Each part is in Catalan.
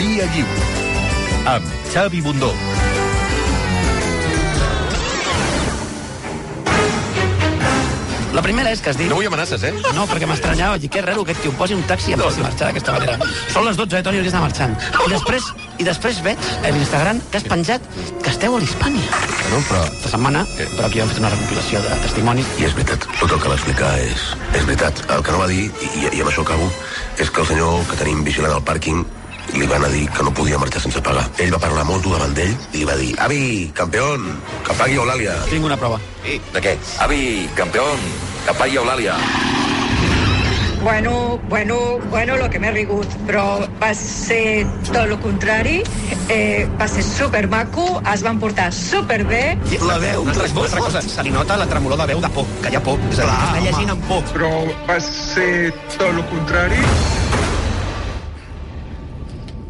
Via Lliure. Amb Xavi Bundó. La primera és que has dit... No vull amenaces, eh? No, perquè m'estranyava. Dic, que raro que et posi un taxi i em faci marxar d'aquesta manera. Són les 12, eh, Toni, hauries d'anar marxant. I després, I després veig a l'Instagram que has penjat que esteu a l'Hispània. Bueno, però... Aquesta setmana, Què? però aquí hem fet una recopilació de testimonis. I és veritat, tot el que va explicar és... És veritat, el que no va dir, i, i amb això acabo, és que el senyor que tenim vigilant al pàrquing li van a dir que no podia marxar sense pagar. Ell va parlar molt dur davant d'ell i li va dir Avi, campeón, que pagui Eulàlia. Tinc una prova. De què? Avi, campeón, que pagui Eulàlia. Bueno, bueno, bueno, lo que m'he rigut, però va ser tot el contrari, eh, va ser supermaco, es van portar superbé, La veu, Una altra, una altra cosa, se li nota la tremolor de veu de por, que hi ha por. És a dir, que està llegint amb por. però va ser tot el contrari.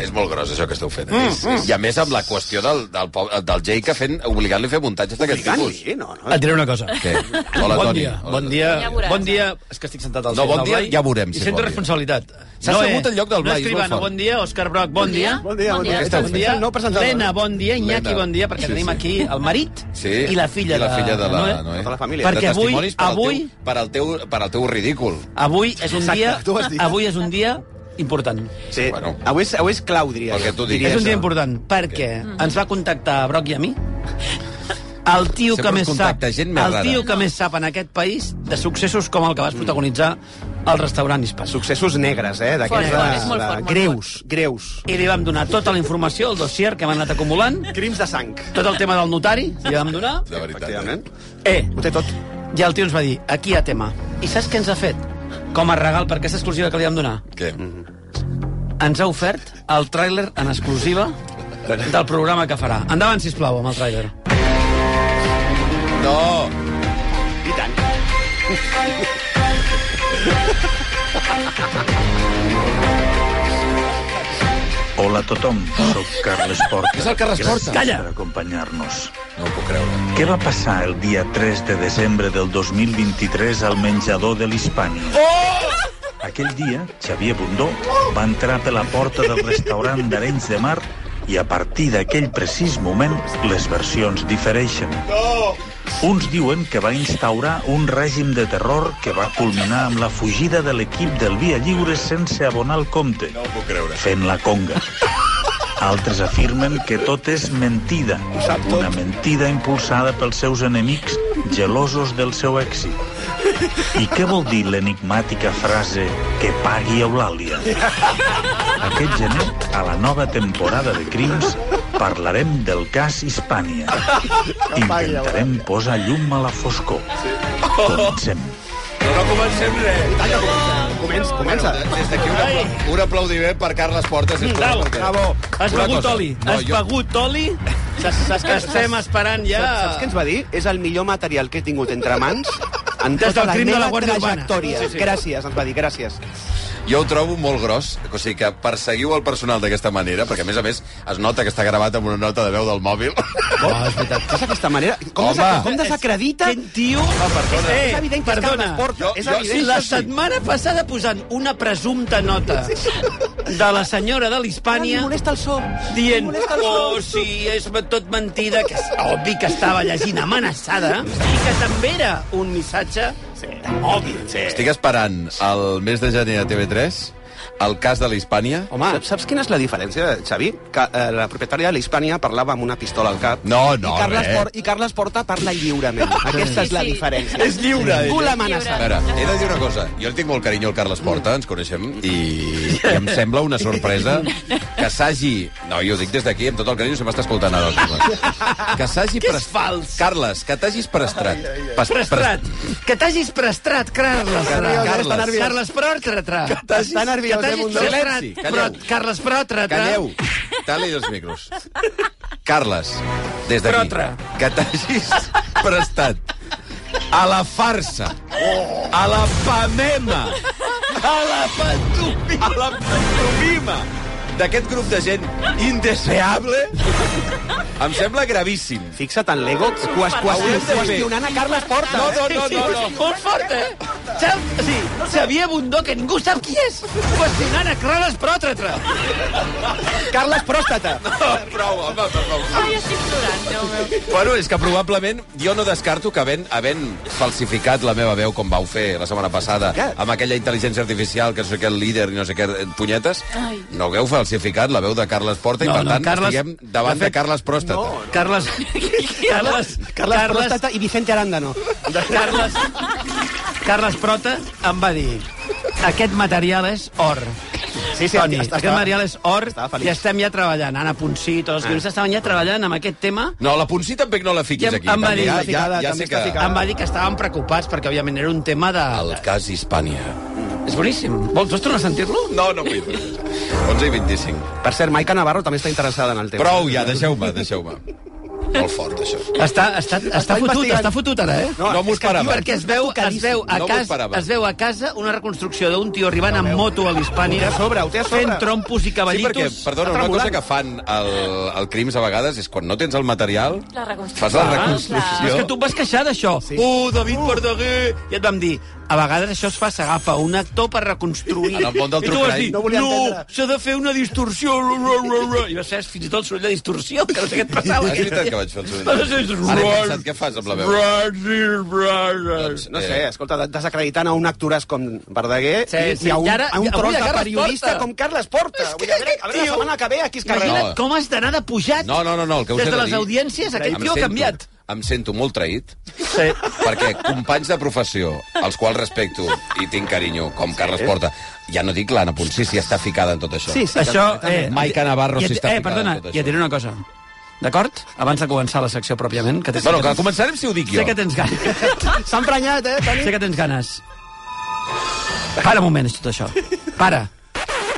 És molt gros, això que esteu fent. Mm, mm. I a més, amb la qüestió del, del, po- del Jake fent, obligant-li a fer muntatges d'aquest tipus. no, no. Et diré una cosa. Què? Hola, bon Toni. dia, Hola, bon Toni. dia, Ja veuràs, bon dia. És que estic sentat al No, seull bon del dia, Blai ja veurem si I és sento bon dia. responsabilitat. S'ha assegut al lloc del Blai, és No molt Escribano, fort. bon dia. Òscar Broc, bon, Bon dia. dia. Bon dia, bon dia. Esteu Ah, Bon fent dia. el No Lena, bon dia. Iñaki, Lena. bon dia, perquè Sí, tenim sí. aquí el marit Sí, i la i filla, la filla de, la Noé. Noé. Tota la família. De Perquè avui- testimonis per al avui- teu- per al teu, per al teu ridícul. Avui és un Exacte, tu ho has dia... dit. Avui és un dia important. Sí. Bueno, Avui és, avui és clau, diria. el que tu diguis. És un dia important, perquè Mm. ens va contactar a Broc i a mi el tio Sempre que més us sap, contacta gent més el rara. tio que més sap en aquest país de successos com el que Mm. vas protagonitzar al restaurant Hispà. Successos negres, eh? Fort, D'aquests de, fort, és molt de, fort, molt greus, greus. I li vam donar tota la informació, el dossier que hem anat acumulant, Crims de sang. tot el tema del notari, li vam donar. De veritat. Efectivament. Eh, Ho té tot. ja el tio ens va dir, aquí hi ha tema. I saps què ens ha fet? Com a regal per aquesta exclusiva que li vam donar? Què? Ens ha ofert el tràiler en exclusiva del programa que farà. Endavant, sisplau, amb el tràiler. No! I tant. Hola a tothom, sóc Carles Porta. És el Carles Porta. Gràcies Calla. per acompanyar-nos. No ho puc creure. Què va passar el dia 3 de desembre del 2023 al menjador de l'Hispània? Oh! Aquell dia, Xavier Bundó va entrar per la porta del restaurant d'Arenys de Mar i a partir d'aquell precís moment les versions difereixen. Uns diuen que va instaurar un règim de terror que va culminar amb la fugida de l'equip del Via Lliure sense abonar el compte No ho puc creure. fent la conga. Altres afirmen que tot és mentida, una mentida impulsada pels seus enemics gelosos del seu èxit. I què vol dir l'enigmàtica frase que pagui Eulàlia? Aquest gener, a la nova temporada de Crims, parlarem del cas Hispània. Intentarem posar llum a la foscor. Comencem. No, no comencem res. Comença, comença. Bueno, des d'aquí un, apla un aplaudiment per Carles Porta, sisplau. Bravo, perquè- bravo. Has Una begut cosa, oli, no, has jo- begut oli. Saps, saps que estem esperant ja... Saps, saps què ens va dir? És el millor material que he tingut entre mans en Des tota del la crim de la meva Guàrdia Urbana. trajectòria. Sí, sí. Gràcies, ens va dir, gràcies. Jo ho trobo molt gros, o sigui que perseguiu el personal d'aquesta manera, perquè a més a més es nota que està gravat amb una nota de veu del mòbil. Oh, és veritat. És aquesta manera... Com, Home. desa- com desacredita... Eh, Quin tio... perdona. Eh, és evident que és perdona. Carles Porta. Jo- és jo- evident. La Sí, sí. setmana passada posant una presumpta nota de la senyora de l'Hispània Em molesta el so. Em dient, molesta el so. oh, sí, és tot mentida, que és obvi que estava llegint amenaçada i que també era un missatge obvi. Sí. Estic esperant el mes de gener a TV3 el cas de la Hispània. Home, saps, saps quina és la diferència, Xavi? Que eh, la propietària de l'Hispània parlava amb una pistola al cap. No, no, I Carles, res. Port, I Carles Porta parla lliurement. Aquesta és la Sí, Sí. sí. diferència. És lliure, Tu ella. l'amenaça. A veure, he de dir una cosa. Jo li tinc molt carinyo al Carles Porta, ens coneixem, i, i em sembla una sorpresa que s'hagi... No, jo ho dic des d'aquí, amb tot el carinyo, se m'està escoltant ara. el Carles. Que s'hagi... Que és pres- fals. Carles, que t'hagis prestrat. Pas- Prestrat. Que t'hagis prestrat, Carles. Carles. Carles, Carles Protratra. Que t'hagis- Està nerviós, que eh, t'hagis Bundó? prestrat, Silenci, però- calleu. Carles Protratra. Calleu. Tali els micros. Carles, des d'aquí, Protra. que t'hagis prestat a la farsa, a la pamema, a la pantomima, a la pantomima d'aquest grup de gent indeseable, em sembla gravíssim. Fixa't en l'ego, qües- qües- Hauríem de fer- qüestionant a Carles Porta. No, no, eh? no, no, no. Molt fort, eh? Xav... Sí, Xavier Bundó, que ningú sap qui és. Qüestionant a Carles Pròtratra. Carles Pròstata. Prou, home, per favor. Ai, estic plorant, Déu meu. Bueno, és que probablement jo no descarto que havent, havent falsificat la meva veu com vau fer la setmana passada Què? amb aquella intel·ligència artificial que no sé què, el líder i no sé què, eh, punyetes, Ai. no hagueu falsificat la veu de Carles Porta No, i per no, tant Carles- estiguem davant de fet- de Carles Pròstata. No. Carles... Carles... Carles, Carles Pròstata i Vicente Arándano. De Carles... Carles Prota em va dir aquest material és or. Sí, sí, Toni, està- aquest estava- material és or estava feliç. i estem ja treballant. Anna Ponsí, tots Ah. els guionistes estaven ja treballant amb aquest tema. no, la Ponsí tampoc no la I fiquis em- aquí. em va també, dir- ja, ja, ficada, ja també sé està que... ficada. Em va dir que estaven preocupats perquè, òbviament, era un tema de... El cas Hispània. És boníssim. Vols, vols tornar a sentir-lo? No, no vull. 11 i 25. Per cert, Maica Navarro també està interessada en el tema. Prou ja, deixeu-me, deixeu-me. Molt fort, això. Està, està, està, està fotut, investigant. està fotut ara, eh? No, no m'ho esperava. perquè es veu, es veu, a No m'ho casa, esperava. es veu a casa una reconstrucció d'un tio arribant amb moto a l'Hispània Ho té a sobre, ho té a sobre. fent trompos i Sí, perquè, cavallitos. perdona, una cosa que fan el, el crims a vegades és quan no tens el material, La reconstrucció. fas la Ah, reconstrucció. clar. És que tu et vas queixar d'això. Sí. Uh, David uh. Verdaguer! I et vam dir, a vegades això es fa, s'agafa un actor per reconstruir. En el món del I tu vas trucall. dir, No no, no s'ha de fer una distorsió. ru, ru, ru, ru. I vas fer fins i tot el soroll de distorsió, que no sé què et passava. És veritat que vaig fer el soroll de Vas fer distorsió. Ara he pensat, què fas amb la veu? Brasil, Brasil. Doncs, No eh, sé, escolta, de- desacreditant a un actoràs com Verdaguer Sí, i, sí, i a un, i ara- a un i avui tros a de Carles periodista Porta. com Carles Porta. És que Vull dir, a, veure, aquest a veure tio- la setmana que ve aquí es carrega. Imagina't No. com has d'anar de pujat. No, no, no, no, el que us Des he de de les dir- audiències, aquell Em tio ha sento- canviat. Em sento molt traït, Sí. perquè companys de professió, els quals respecto i tinc carinyo, com Carles Porta, ja no dic l'Anna Ponsí, si està ficada en tot això. Sí, sí. Això, eh, Maica Navarro i et- sí està Eh, ficada perdona, en tot i et això. diré una cosa. D'acord? Abans de començar la secció pròpiament, que tens... Bueno, que començarem si ho dic jo. Sé que tens ganes. S'ha emprenyat, eh, Toni? Sé que tens ganes. Para un moment, tot això. Para.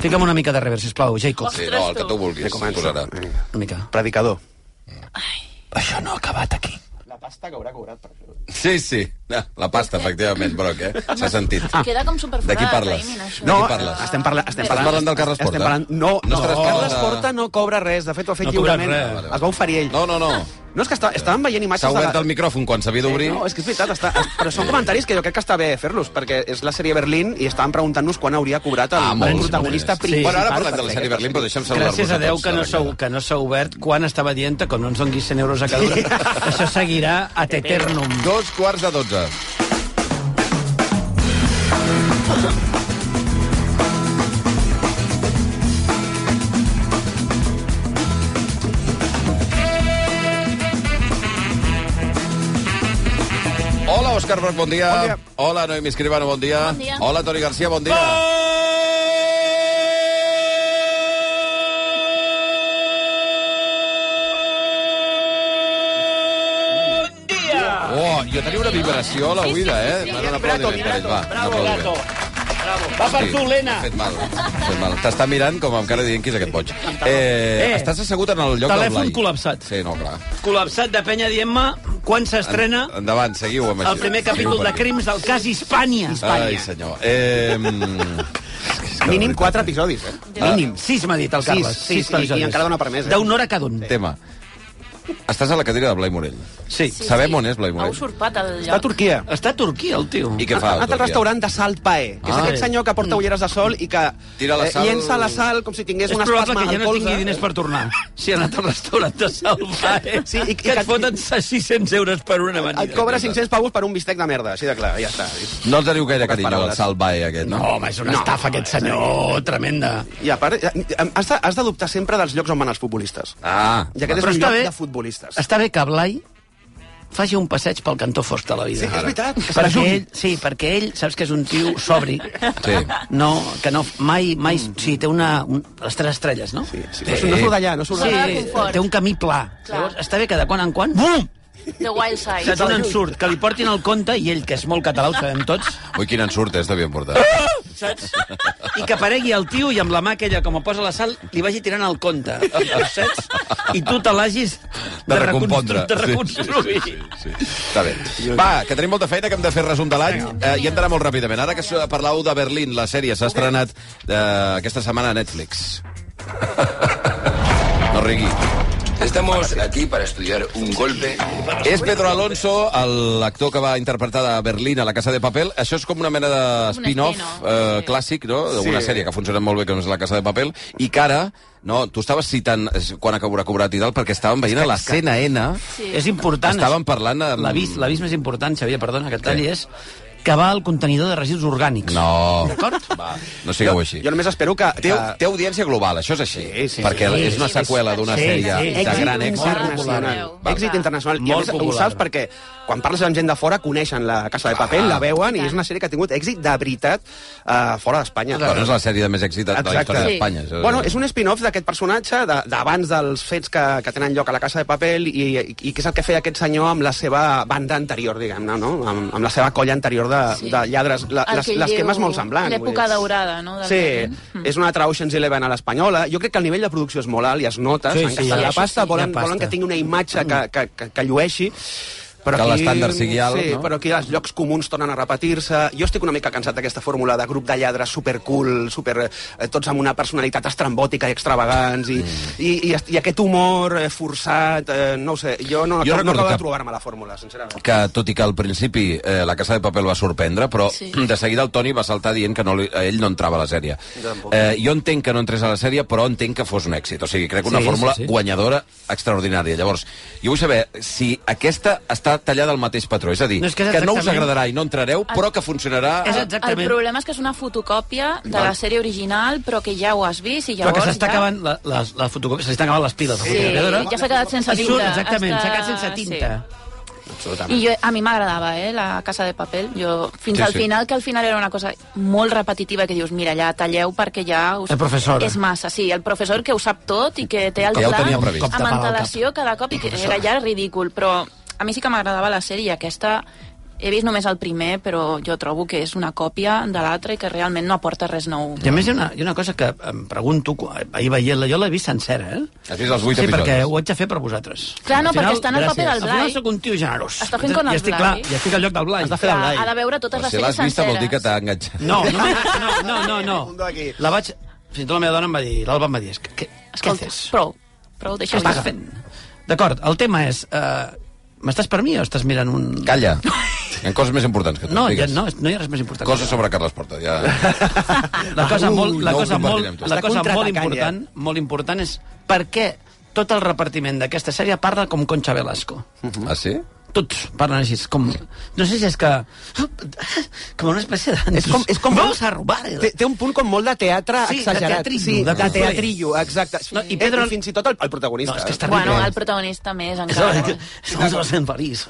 Fica'm una mica de revers, sisplau, Jacob. Sí, no, el que tu vulguis. Que comença. Posarà. Una mica. Predicador. Això no ha acabat aquí. La pasta que haurà cobrat per fer-ho. Sí, sí. Ah, La pasta, efectivament, Broc, eh? S'ha sentit. Queda com superforat. De qui parles? Raïm, això. No, No, De què parles? estem parlant... Estem Estàs parlant del Carles Porta? Estem parlant... No, No no, estaràs no. parlant de- Carles Porta no cobra res. De fet, ho ha fet No ha cobrat lliurement. res. Es va oferir ell. No, no, no. No, és que està, estàvem veient imatges... S'ha de la- Eh, obert el micròfon quan s'havia d'obrir. No, és que és veritat, està, però són comentaris que jo crec que està bé fer-los, perquè és la sèrie Berlín i estàvem preguntant-nos quan hauria cobrat el, Ah, molt, el protagonista molt bé. Sí. principal. Bueno, ara parlem perquè de la sèrie aquest- Berlín, però deixa'm saludar-vos. Gràcies a Déu que no tots, s'ha que no s'ha obert quan estava dient que com no ens donis 100 euros a cada hora, això seguirà a eternum. Dos quarts de dotze. Hola, Òscar Broc, bon dia. Bon dia. Hola, Noemi Escribano, bon dia. Bon dia. Hola, Toni Garcia, bon dia. Oh, jo tenia una vibració a la buida, eh? Bueno, un aplaudiment per ell, va. un aplaudiment. Va per Sí, tu, Helena. m'ha Fet mal, m'ha fet mal. T'està mirant com amb cara dient qui és aquest boig. Eh, Eh, estàs assegut en el lloc del telèfon Blai. col·lapsat. Sí, no, clar. Col·lapsat de penya dient-me quan s'estrena En- Endavant, seguiu amb això. el primer Seguiu capítol per de aquí. Crims del cas Hispània. Ai, senyor. Eh, mm, és que Mínim de veritat, quatre episodis, eh? Ah. Mínim, sis m'ha dit el Sis, Carles. sis, i- episodis. i encara dona per més, eh? D'una hora cada un. Tema. Estàs a la cadira de Blai Morell. Sí. Sí, Sabem sí. on és Blai Morell. Ha usurpat el Està lloc. a Turquia. Està a Turquia, el tio. I què fa? Ha anat al restaurant de Salt Pae, que és Ah. aquest senyor que porta ulleres de sol i que Tira la eh, sal- llença la sal com si tingués És un probable espasme eh? que ja al no colze. tingui diners per tornar. Si ha anat al restaurant de salvar, eh? Sí, i- i que et que- foten 600 euros per una Et amanida. cobra 500 pavos per un bistec de merda, així de clar, ja està. No els teniu gaire Poques carinyo, el paraules. salvae aquest, no? No, home, és una No, estafa, aquest senyor, tremenda. I a part, eh, has de, has de dubtar sempre dels llocs on van els futbolistes. Ah, I aquest Però és un està lloc bé. de futbolistes. Està bé que Blai faci un passeig pel cantó fosc de la vida. Sí, és veritat, que se'n Perquè jugui. ell, sí, perquè ell, saps que és un tio sobri. Sí. No, que no, mai, mai... Sí, té una... Un, les tres estrelles, no? Sí, sí. No, no surt d'allà, no surt Sí. d'allà. Zona de confort. té un camí pla. Clar. Llavors, està bé que de quan en quan... Bum! The Wild Side. Saps on en surt? Que li portin el conte i ell, que és molt català, ho sabem tots, Ui, quin ensurt, eh? Està ben portat. saps? I que aparegui el tio i amb la mà aquella, com a posa la sal, li vagi tirant el conte, saps? I tu te l'hagis De recompondre. reconstru- De reconstruir. Sí, sí, sí, sí. Està bé. Va, que tenim molta feina, que hem de fer resum de l'any. Eh, I hem d'anar molt ràpidament. Ara que so- parlàveu de Berlín, la sèrie s'ha estrenat eh, aquesta setmana a Netflix. No rigui. Estamos aquí para estudiar un golpe. És Pedro Alonso, el- l'actor que va interpretar de Berlín a La Casa de Papel. Això és com una mena de spin-off eh, clàssic, no?, d'una Sí. sèrie que ha funcionat molt bé, com és La Casa de Papel, i que ara, no, tu estaves citant eh, quan acabarà cobrat i tal, perquè estàvem veient a la CNN... Sí. És important. Estàvem parlant... Amb... L'avís l'avís més important, Xavier, perdona, que et talli, és que va al contenidor de residus orgànics. No. D'acord? No sigueu així. Jo només espero que... Té, té audiència global, això és així. perquè sí. és una seqüela d'una Sí, sèrie sí. de Èxit gran èxit. internacional. Va. Èxit internacional. I a Molt més, ho popular. saps perquè quan parles amb gent de fora coneixen la Casa de Papel, Ah. la veuen, i és una sèrie que ha tingut èxit de veritat eh, fora d'Espanya. Bueno, és la sèrie de més èxit de, de la història d'Espanya. això. Bueno, és un spin-off d'aquest personatge de- d'abans dels fets que, que tenen lloc a la Casa de Papel i, i que és el que feia aquest senyor amb la seva banda anterior, diguem-ne, no? Amb, amb la seva colla anterior de, sí. de lladres. La, El les, que les diu temes molt semblants. vull L'època dir. daurada, no? del Mm. Sí, moment. és una altra Ocean's Eleven a l'espanyola. Jo crec que el nivell de producció és molt alt i es nota. Sí, sí, Sí, sí, la això pasta, sí, volen, hi ha pasta. volen que tingui una imatge que, que, que, que llueixi. Però Que aquí- l'estàndard sigui alt, sí, no? però aquí els llocs comuns tornen a repetir-se. Jo estic una mica cansat d'aquesta fórmula de grup de lladres supercool, super, eh, tots amb una personalitat estrambòtica i extravagants, i, mm. i, i, est- i aquest humor eh, forçat, eh, no ho sé, jo no, Jo jo no recordo acabo que- de trobar-me la fórmula, sincerament. que tot i que al principi eh, la Casa de Papel va sorprendre, però sí. Sí. de seguida el Toni va saltar dient que no, li- a ell no entrava a la sèrie. Eh, jo entenc que no entrés a la sèrie, però entenc que fos un èxit. O sigui, crec que una Sí, sí, fórmula sí, sí, sí. sí. guanyadora extraordinària. Llavors, jo vull saber si aquesta està tallada al mateix patró, és a dir, No, no, és és que que, és que no us exactament- agradarà i no entrareu, però que funcionarà... El problema és que és una fotocòpia de Val. la sèrie original, però que ja ho has vist i Però llavors que s'està ja... acabant, la, la, la fotocòpia, se li estan acabant les piles. a la Sí, fotocopiadora. ja s'ha quedat sense Et tinta. Surt, exactament, Està- s'ha quedat sense tinta. Sí. I jo, a mi m'agradava, eh, la Casa de Papel. Jo, fins Sí, al sí. final, que al final era una cosa molt repetitiva, que dius, mira, ja talleu perquè ja... Us... El professor. És massa, sí, el professor que ho sap tot i que té el Que ja ho pla tenia previst. amb antelació cada cop i que era ja ridícul, però a mi sí que m'agradava la sèrie, aquesta he vist només el primer, però jo trobo que és una còpia de l'altra i que realment no aporta res nou. I a més hi ha una, hi ha una cosa que em pregunto, quan- ahir veient-la, jo l'he vist sencera, eh? Has vist els vuit sí, episodis. perquè ho haig de fer per vosaltres. Clar, no, Al final- perquè està en el paper gràcies. del Blai. Al final sóc un tio generós. Està fent con I el estic, Blai. clar, i estic al lloc del Blai. Has de Clar, ha de veure totes Però les si l'has sèries vista vol senceres. dir que t'ha enganxat. No, no, no, no, no, no. La vaig... Fins i tot la meva dona em va dir, l'Alba em va dir, "És que- que- què haces? Prou, prou, Què deixa estàs fent? D'acord, el tema és... eh, M'estàs per mi o estàs mirant un... Calla. Hi ha coses més importants que tu, No, ja, digues. no, no hi ha res més important. Coses sobre Carles Porta, ja... La cosa Ah, uh, molt, la no ho cosa compartirem molt, tot. la Està cosa molt contraatacant, important, molt important és per què tot el repartiment d'aquesta sèrie parla com Concha Velasco. Ah, sí? Tots parlen així, és com... No sé si és que... Com una espècie de... És com, és com vamos a robar. Té, té un punt com molt de teatre Sí, de exagerat. teatrillo, sí, de de cultura. teatrillo, exacte. No, i, Pedro... I fins i tot el, el protagonista. eh? No, és que està Bueno, el protagonista més, encara. Estamos en París.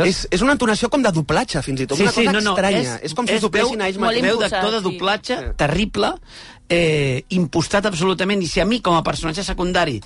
És, és una entonació com de doblatge, fins i tot. Sí, una sí, cosa no, no, estranya. és- És, com si és es doblessin veu- a ells molt mateixos. Veu d'actor de doblatge terrible, eh, impostat absolutament, i si a mi com a personatge secundari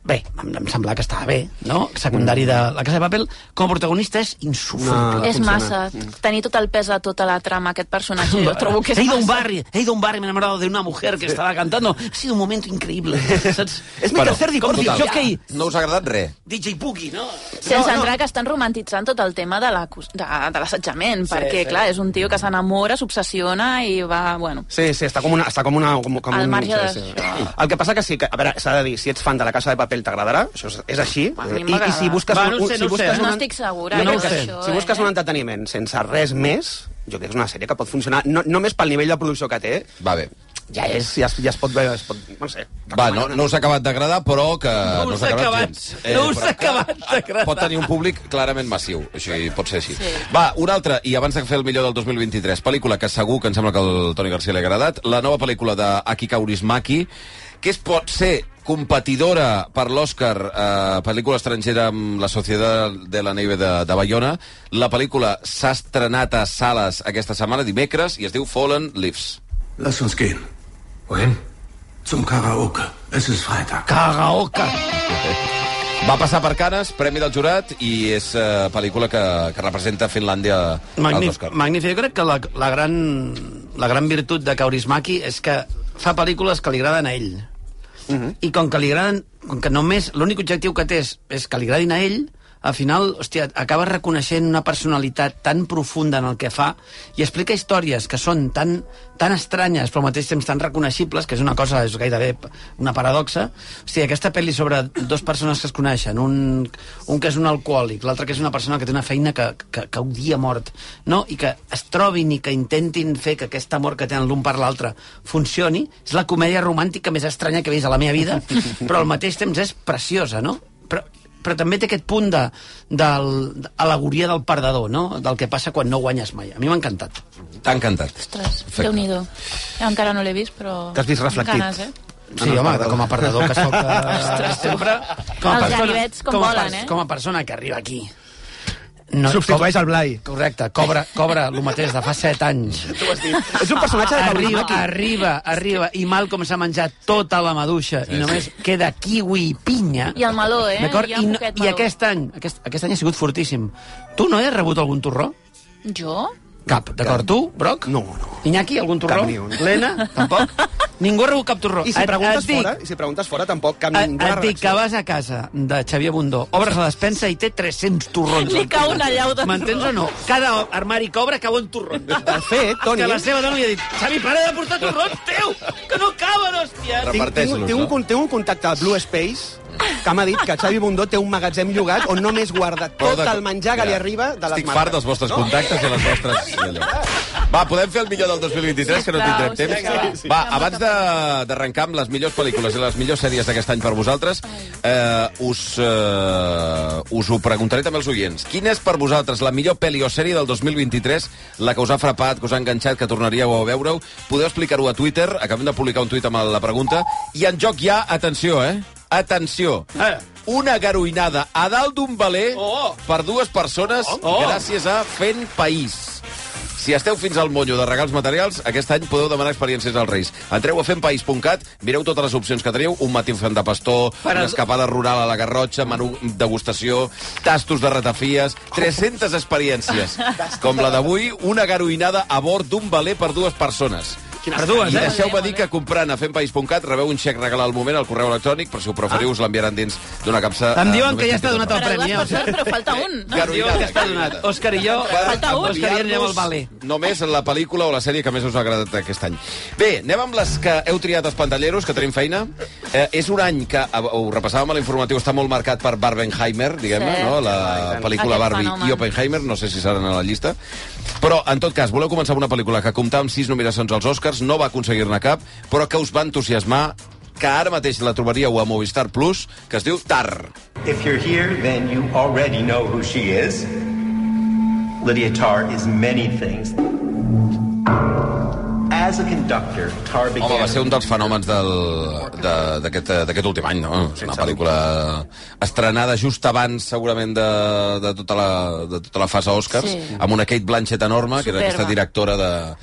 Bé, em, em semblava que estava bé, no? Secundari de la Casa de Papel, com a protagonista és insufrible. és massa. Tenir tot el pes de tota la trama, aquest personatge, jo trobo que és he ido a un massa. barri, he ido a un barri, me he enamorado de una mujer que estaba cantando. Ha sido un momento increíble, saps? És Bueno, Com total. dic, jockey, No us ha agradat res. DJ Boogie, no? Sense No, no. entrar que estan romantitzant tot el tema de la cus- de, de l'assetjament, Sí, perquè, sí. clar, és un tio que s'enamora, s'obsessiona i va, bueno... Sí, sí, està com una... Està com una com, com Al un, marge sí, de- sí. El que passa que sí, que, a veure, s'ha de dir, si ets fan de la Casa de Paper t'agradarà, això és, és així, mi i, i m'agrada. si busques... Va, no ho un- sé, si no ho busques sé. No un- estic segura, Jo jo crec que crec sí. això, si busques eh? un entreteniment sense res més, jo crec que és una sèrie que pot funcionar, no, només pel nivell de producció que té, Va bé. ja és, ja, es- ja es pot veure, es pot, no sé. Va, no, no us ha acabat d'agradar, però que... No us ha acabat- no us ha acabat d'agradar. Eh, Ah, Pot tenir un públic clarament massiu, així pot ser així. Sí. Va, una altra, i abans de fer el millor del 2023, pel·lícula que segur que em sembla que al Toni Garcia li ha agradat, la nova pel·lícula d'Aki Kaurismaki, que es pot ser competidora per l'Oscar eh, pel·lícula estrangera amb la Societat de la Neve de, de Bayona. La pel·lícula s'ha estrenat a sales aquesta setmana, dimecres, i es diu Fallen Leaves. Lass uns gehen. Wohin? Zum Karaoke. Es ist Freitag. Karaoke. Va passar per Canes, Premi del Jurat, i és eh, pel·lícula que, que representa Finlàndia a Magnífic, l'Òscar. magnífic. Jo crec que la, la, gran, la gran virtut de Kaurismaki és que fa pel·lícules que li agraden a ell. I com que li agraden, com que només l'únic objectiu que té és, és que li agradin a ell, al final, hòstia, acaba reconeixent una personalitat tan profunda en el que fa i explica històries que són tan, tan estranyes, però al mateix temps tan reconeixibles, que és una cosa, és gairebé p- una paradoxa. Hòstia, aquesta pel·li sobre dues persones que es coneixen, un, un que és un alcohòlic, l'altre que és una persona que té una feina que, que, que odia a mort, no? i que es trobin i que intentin fer que aquest amor que tenen l'un per l'altre funcioni, és la comèdia romàntica més estranya que he vist a la meva vida, però al mateix temps és preciosa, no? Però però també té aquest punt de, de l'alegoria del perdedor, no? del que passa quan no guanyes mai. A mi m'ha encantat. T'ha encantat. Ostres, Perfecte. Déu-n'hi-do. Encara no l'he vist, però... T'has vist reflectit? Ganes, eh? Sí, home, com a perdedor que soc eh, Ostres, tu. sempre... Els persona- ganivets com a volen, pers- eh? Com a persona que arriba aquí. Substitueix el Blai. Correcte, cobra, cobra el mateix de fa 7 anys. És un personatge de Paulus arriba, Maki. arriba, arriba, i mal com s'ha menjat tota la maduixa, i només queda kiwi i pinya. I el meló, eh? D'acord? Hi ha I, no, poquet I meló. aquest any, aquest, aquest any ha sigut fortíssim. Tu no has rebut algun torró? Jo? Cap, d'acord? Tu, Broc? No, no. Iñaki, algun torró? Cap ni un. Lena, tampoc? Ningú ha rebut cap torró. I si Et- preguntes et dic- fora, i si preguntes fora tampoc cap Et, ninguna et dic reacció. que vas a casa de Xavier Bundó, obres la despensa i té 300 torrons. Li cau una llau de M'entens o torrons. no? Cada armari que obre cau un torró. De fet, Toni- Que eh? la seva dona li ha dit, Xavi, para de portar torrons, teu, que no caben, hòstia. Tinc, tinc, tinc, un, con- tinc un contacte a Blue Space que m'ha dit que Xavi Bundó té un magatzem llogat on només guarda Però tot de- el menjar que li ja. arriba de les Estic fart dels vostres contactes i les vostres... allò. Va, podem fer el millor del 2023, que no tindrem temps. Va, abans de- d'arrencar amb les millors pel·lícules i les millors sèries d'aquest any per vosaltres, eh, us, eh, us ho preguntaré també als oients. Quina és per vosaltres la millor pel·li o sèrie del 2023, la que us ha frapat, que us ha enganxat, que tornaríeu a veure-ho? Podeu explicar-ho a Twitter, acabem de publicar un tuit amb la pregunta. I en joc hi ha, atenció, eh? Atenció. Una garoinada a dalt d'un baler oh. per dues persones oh. gràcies a Fent País. Si esteu fins al monyo de regals materials, aquest any podeu demanar experiències als Reis. Entreu a fempaís.cat, mireu totes les opcions que teniu, un matí fent de pastor, Per una a- escapada rural a la Garrotxa, menú degustació, tastos de ratafies, 300 experiències, com la d'avui, una garoinada a bord d'un valer per dues persones. Per dues, I eh? deixeu-me dir que comprant a fempaís.cat rebeu un xec regalat al moment al correu electrònic, però si ho preferiu us l'enviaran dins d'una capsa... Em eh, diuen només que vint ja i està donat el Per a premi. dues eh? persones, però falta un. Garoinada, que està donat. Òscar i jo... Falta un. Òscar i jo anem al valer. Només la pel·lícula o la sèrie que més us ha agradat aquest any. Bé, anem amb les que heu triat els pantalleros, que tenim feina. Eh, és un any que, eh, ho repassàvem a l'informatiu, està molt marcat per Barbenheimer, diguem-ne, Sí. no? la pel·lícula Aquest Barbie fenomen. i Oppenheimer, no sé si seran a la llista. Però, en tot cas, voleu començar amb una pel·lícula que comptava amb sis nominacions als Oscars, no va aconseguir-ne cap, però que us va entusiasmar que ara mateix la trobaríeu a Movistar Plus, que es diu Tar. If you're here, then you already know who she is. Lydia Tarr is many things. As a conductor, Tarr began. Home, va ser un dels fenòmens del- de- d'aquest eh, d'aquest últim any, no? És una pel·lícula estrenada just abans, segurament, de, de, tota, la, de tota la fase Oscars, Sí. amb una Kate Blanchett enorme, que era Superba. aquesta directora de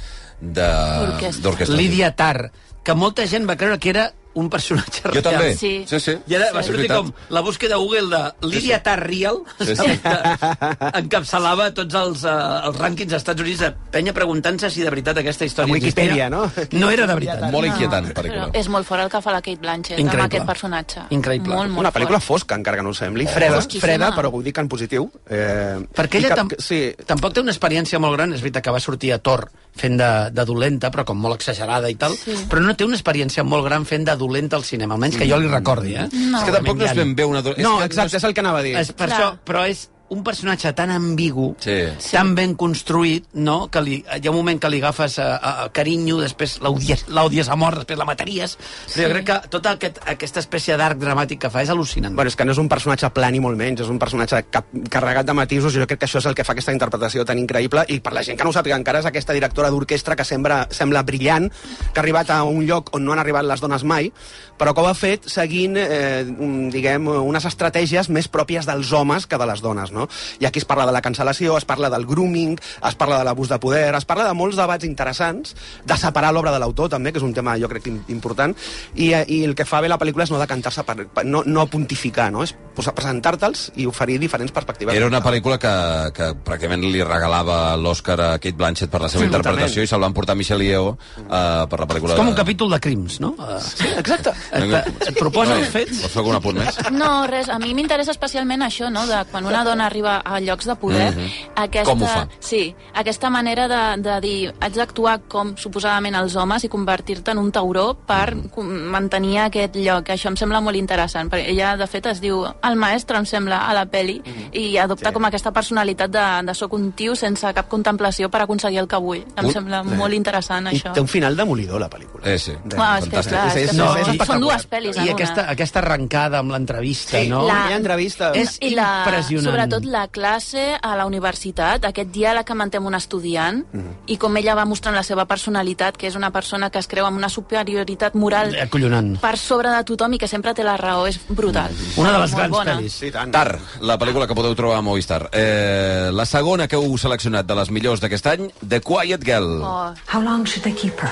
de- d'orquestra. Lídia Tar, que molta gent va creure que era un personatge real. Jo també. Sí. Sí, sí. I ara Sí. va És sortir veritat. com la búsqueda de Google de Lídia Tar Real, Sí, sí. saps? Que encapçalava tots els, uh, els rànquings dels Estats Units de penya preguntant-se si de veritat aquesta història A Wikipedia, existia. No era de veritat. Molt inquietant, Però Ah. és molt fora el que fa la Kate Blanchett Increïble. amb aquest personatge. Increïble. Molt, molt Una pel·lícula fosca, encara que no ho sembli. Freda, Fosquíssima. freda però ho dic en positiu. Eh, Perquè i ella que- tam sí. tampoc té una experiència molt gran, és veritat que va sortir a Thor fent de, de dolenta, però com molt exagerada i tal, sí. però no té una experiència molt gran fent de dolenta al cinema, almenys que jo li recordi, eh? No. És que tampoc no és ben bé una do- és No, que- exacte, és el que anava a dir. És per Clar. això, però és un personatge tan ambigu, Sí. tan ben construït, no? que li, hi ha un moment que li agafes a, a, a carinyo, després l'odies l'odies a mort, després la mataries, però jo Sí. crec que tota aquest, aquesta espècie d'arc dramàtic que fa és al·lucinant. Bueno, és que no és un personatge plan i molt menys, és un personatge cap, carregat de matisos, i jo crec que això és el que fa aquesta interpretació tan increïble, i per la gent que no ho sàpiga encara és aquesta directora d'orquestra que sembla, sembla brillant, que ha arribat a un lloc on no han arribat les dones mai, però que ho ha fet seguint, eh, un, diguem, unes estratègies més pròpies dels homes que de les dones, no? I aquí es parla de la cancel·lació, es parla del grooming, es parla de l'abús de poder, es parla de molts debats interessants, de separar l'obra de l'autor, també, que és un tema, jo crec, im- important, i, eh, i el que fa bé la pel·lícula és no decantar-se per, per no, no pontificar, no? És posar- presentar-te'ls i oferir diferents perspectives. Era una pel·lícula que, que pràcticament li regalava l'Oscar a Kate Blanchett per la seva Sí, interpretació i se'l van portar a Michelle Yeoh uh, per la pel·lícula... És com un capítol de crims, no? Sí, exacte. Et proposa els fets... Vols fer algun apunt més? No, res, a mi m'interessa especialment això, no?, de quan una dona arriba a llocs de poder, Mhm. aquesta, Com ho fa? Sí, aquesta manera de, de dir, haig d'actuar com suposadament els homes i convertir-te en un tauró per com- mantenir aquest lloc. Això em sembla molt interessant, perquè ella, de fet, es diu el maestre, em sembla, a la peli, i adopta com aquesta personalitat de, de soc un tio sense cap contemplació per aconseguir el que vull. Em Un- sembla Sí. molt interessant, això. Té un final demolidor, la pel·lícula. Eh, sí. Ah, és que, clar, és que és, són- no, són és, és, dues pel·lis en I una. aquesta, aquesta arrencada amb l'entrevista, Sí, no? la- Hi ha entrevistes. És I la, impressionant. Sobretot la classe a la universitat, aquest diàleg que manté amb un estudiant mm. i com ella va mostrant la seva personalitat, que és una persona que es creu amb una superioritat moral Acollonant. per sobre de tothom i que sempre té la raó, és brutal. Molt bona. Sí, Tar, la pel·lícula que podeu trobar a Movistar. Eh, la segona que heu seleccionat de les millors d'aquest any, The Quiet Girl. Oh, How long should they keep her?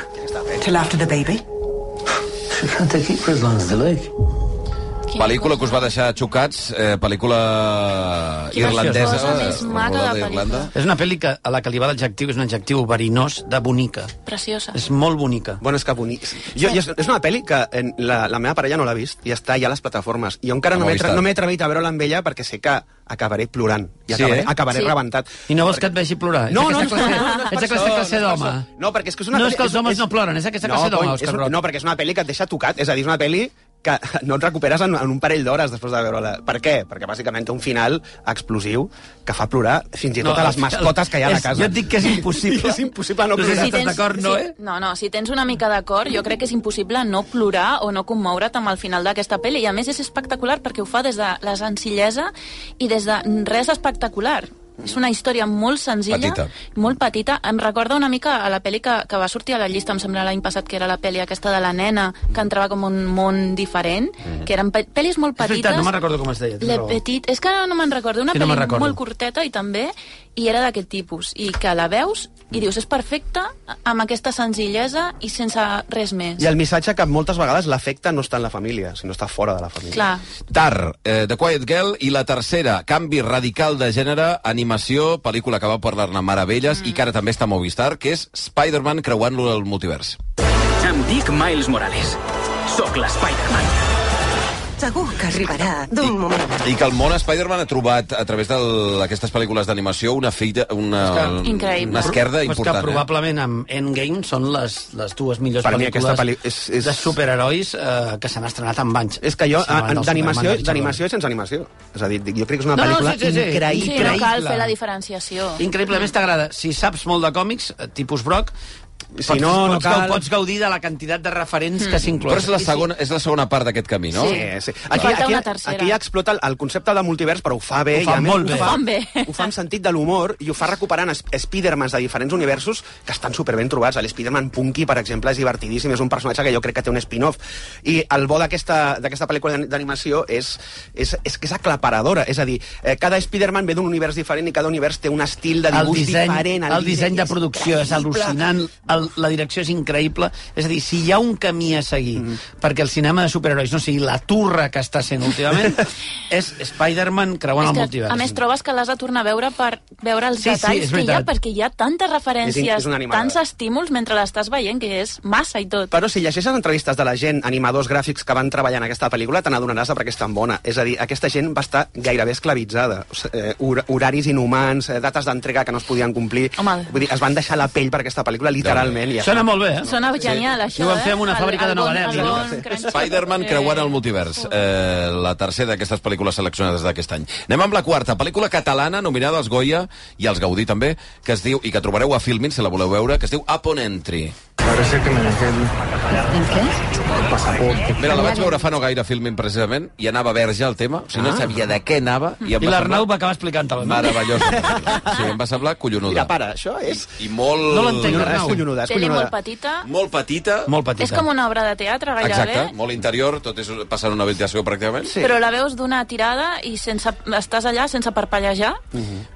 Till after the baby? She can't take it for as long as they like. Pel·lícula que us va deixar xocats, eh, pel·lícula Quina irlandesa. cosa més maca rodada de a Irlanda. És una pel·li que, a la que li va l'adjectiu, és un adjectiu verinós de bonica. Preciosa. És molt bonica. Bueno, és que bonic. Jo, jo, és una pel·li que en, la, la meva parella no l'ha vist i està ja a les plataformes. Jo encara A no m'he Movistar. atre- no m'he atrevit a veure-la amb ella perquè sé que acabaré plorant. I Sí, acabaré, eh? acabaré Sí. rebentat. I no vols que et vegi plorar? No, Ets no, aquesta no, classe- no, no, no, Ets per aquesta això, classe no, per d'home. això. No, perquè és que és una No és pel·li- que els homes no ploren, és aquesta classe d'home, cony, Òscar és un- Roc. No, perquè és una pel·li que et deixa tocat, és a dir, és una pel·li que no et recuperes en, en un parell d'hores després de veure-la. Per què? Perquè bàsicament té un final explosiu que fa plorar fins i tot No, no, a les el- mascotes que hi ha a la és- casa. jo et dic que és impossible. és impossible no eh? No sé plorar. si estàs d'acord, no, eh? si, no, no, si tens una mica d'acord, jo crec que és impossible no plorar o no commoure't amb el final d'aquesta pel·li. I a més és espectacular perquè ho fa des de la senzillesa i des de res espectacular. És una història molt senzilla, Petita. molt petita. Em recorda una mica a la pel·li que, que va sortir a la llista, em sembla l'any passat, que era la pel·li aquesta de la nena, que entrava com a un món diferent, que eren pe- pel·lis molt Mhm. És petites. veritat, no me'n recordo com es deia. tens Le raó. Petit, és que ara no me'n recordo, una Sí, sí, no pel·li me'n recordo. molt curteta i també, i era d'aquest tipus, i que la veus i dius, és perfecta, amb aquesta senzillesa i sense res més. I el missatge que moltes vegades l'afecta no està en la família, sinó està fora de la família. Clar. Tar, eh, The Quiet Girl, i la tercera, canvi radical de gènere, animació, pel·lícula que va parlar-ne meravelles mm. i que ara també està a Movistar, que és Spider-Man creuant-lo al multivers. Em dic Miles Morales. Sóc l'Spider-Man. Segur que arribarà d'un moment. I que el món Spider-Man ha trobat, a través de d'aquestes pel·lícules d'animació, una filla, una, una esquerda Però és important. eh? Que probablement amb Endgame són les, les dues millors eh? Per mi pel·lícules aquesta pel·li- és- és- de superherois eh, que s'han estrenat amb anys. És que jo, Sí, abans a- a- del d'animació Superman de d'animació i sense animació. És a dir, dic, jo crec que és una No, no, pel·lícula sí, sí, sí. increïble. Sí, no cal fer la diferenciació. Increïble, a més t'agrada. Si saps molt de còmics, eh, tipus Brock, Si pots, no, no pots, cal. pots gaudir de la quantitat de referents Mm. que s'inclouen. Però és la segona, és la segona part d'aquest camí, no? Sí. Sí, sí. Aquí, Aquí, Falta aquí, una tercera. aquí ja explota el, el concepte de multivers, però ho fa bé. Ho fa i a més- molt bé. Ho Ho fa, fan ho fa amb sentit de l'humor i ho fa recuperant es- Spidermans de diferents universos que estan superben trobats. L'Spiderman Punky, per exemple, és divertidíssim, és un personatge que jo crec que té un spin-off. I el bo d'aquesta d'aquesta pel·lícula d'ani- d'animació és, és, és que és aclaparadora. És a dir, eh, cada Spiderman ve d'un univers diferent i cada univers té un estil de el dibuix disseny, diferent. el disseny de és producció és increïble. al·lucinant, el, la direcció és increïble. És a dir, si hi ha un camí a seguir Mm-hmm. mm. perquè el cinema de superherois no sigui la turra que està sent últimament, és Spider-Man creuant És el que, multivers. a més, trobes que l'has de tornar a veure per veure els Sí, sí, detalls és que hi ha, veritat. perquè hi ha tantes referències, És in- és una animada. tants estímuls mentre l'estàs veient, que és massa i tot. Però si llegeixes entrevistes de la gent, animadors gràfics que van treballar en aquesta pel·lícula, te n'adonaràs de per què és tan bona. És a dir, aquesta gent va estar gairebé esclavitzada. O sigui, eh, hor horaris inhumans, eh, dates d'entrega que no es podien complir. Home. Vull dir, es van deixar la pell per aquesta pel·lícula, literalment. i Ja. Sona molt bé, eh? Sona genial, això, I ho van fer amb una eh? fàbrica El- de Nova el Delhi. bon- no? el bon crunch. Spider-Man Eh, creuant el multivers, eh, la tercera d'aquestes pel·lícules seleccionades d'aquest any. Anem amb la quarta, pel·lícula catalana nominada als Goya i als Gaudí també, que es diu, i que trobareu a Filmin si la voleu veure, que es diu Upon Entry. Parece que me dejé el ¿El qué? pasaporte. Mira, la vaig veure fa no gaire a Filmin precisament i anava verge el tema, o sigui, no Ah. sabia de què anava. I, em I va l'Arnau va acabar explicant-te-la. semblar Meravellós. Sí, em va semblar collonuda. Mira, para, això és... I molt... No l'entenc, És Arnau. collonuda. Collonut, és Tele molt collonuda. petita. Molt petita. Molt És com una obra de teatre, gairebé. Exacte, molt interior, tot és passant una ventilació pràcticament. eh? Sí. Però la veus d'una tirada i sense, estàs allà sense parpellejar.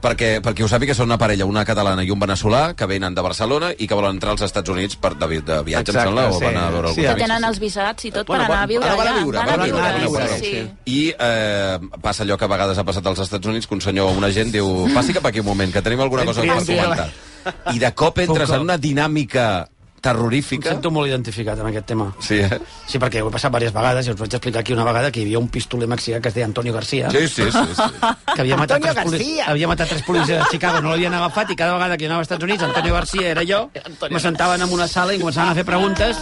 Perquè, perquè ho sàpiga, són una parella, una catalana i un veneçolà, que venen de Barcelona i que volen entrar als Estats Units per, de, vi- de viatge, Exacte, em sembla, sí. o van a veure Sí, alguna que tenen els visats i tot Bueno, per anar a viure ara van a allà. viure, van a viure, van a viure, sí, sí. I eh, passa allò que a vegades ha passat als Estats Units, que un senyor o una gent diu, passi cap aquí un moment, que tenim alguna cosa per Entri, entri. comentar. I de cop entres Puc- en una dinàmica terrorífica. Em sento molt identificat amb aquest tema. Sí, eh? Sí, perquè ho he passat diverses vegades i us vaig explicar aquí una vegada que hi havia un pistoler mexicà que es deia Antonio García. Sí, sí, sí, sí. Que havia matat, Antonio tres policies, García. havia matat tres policies de Chicago, no l'havien agafat i cada vegada que jo anava als Estats Units, Antonio García era jo, me sentaven en una sala i començaven a fer preguntes.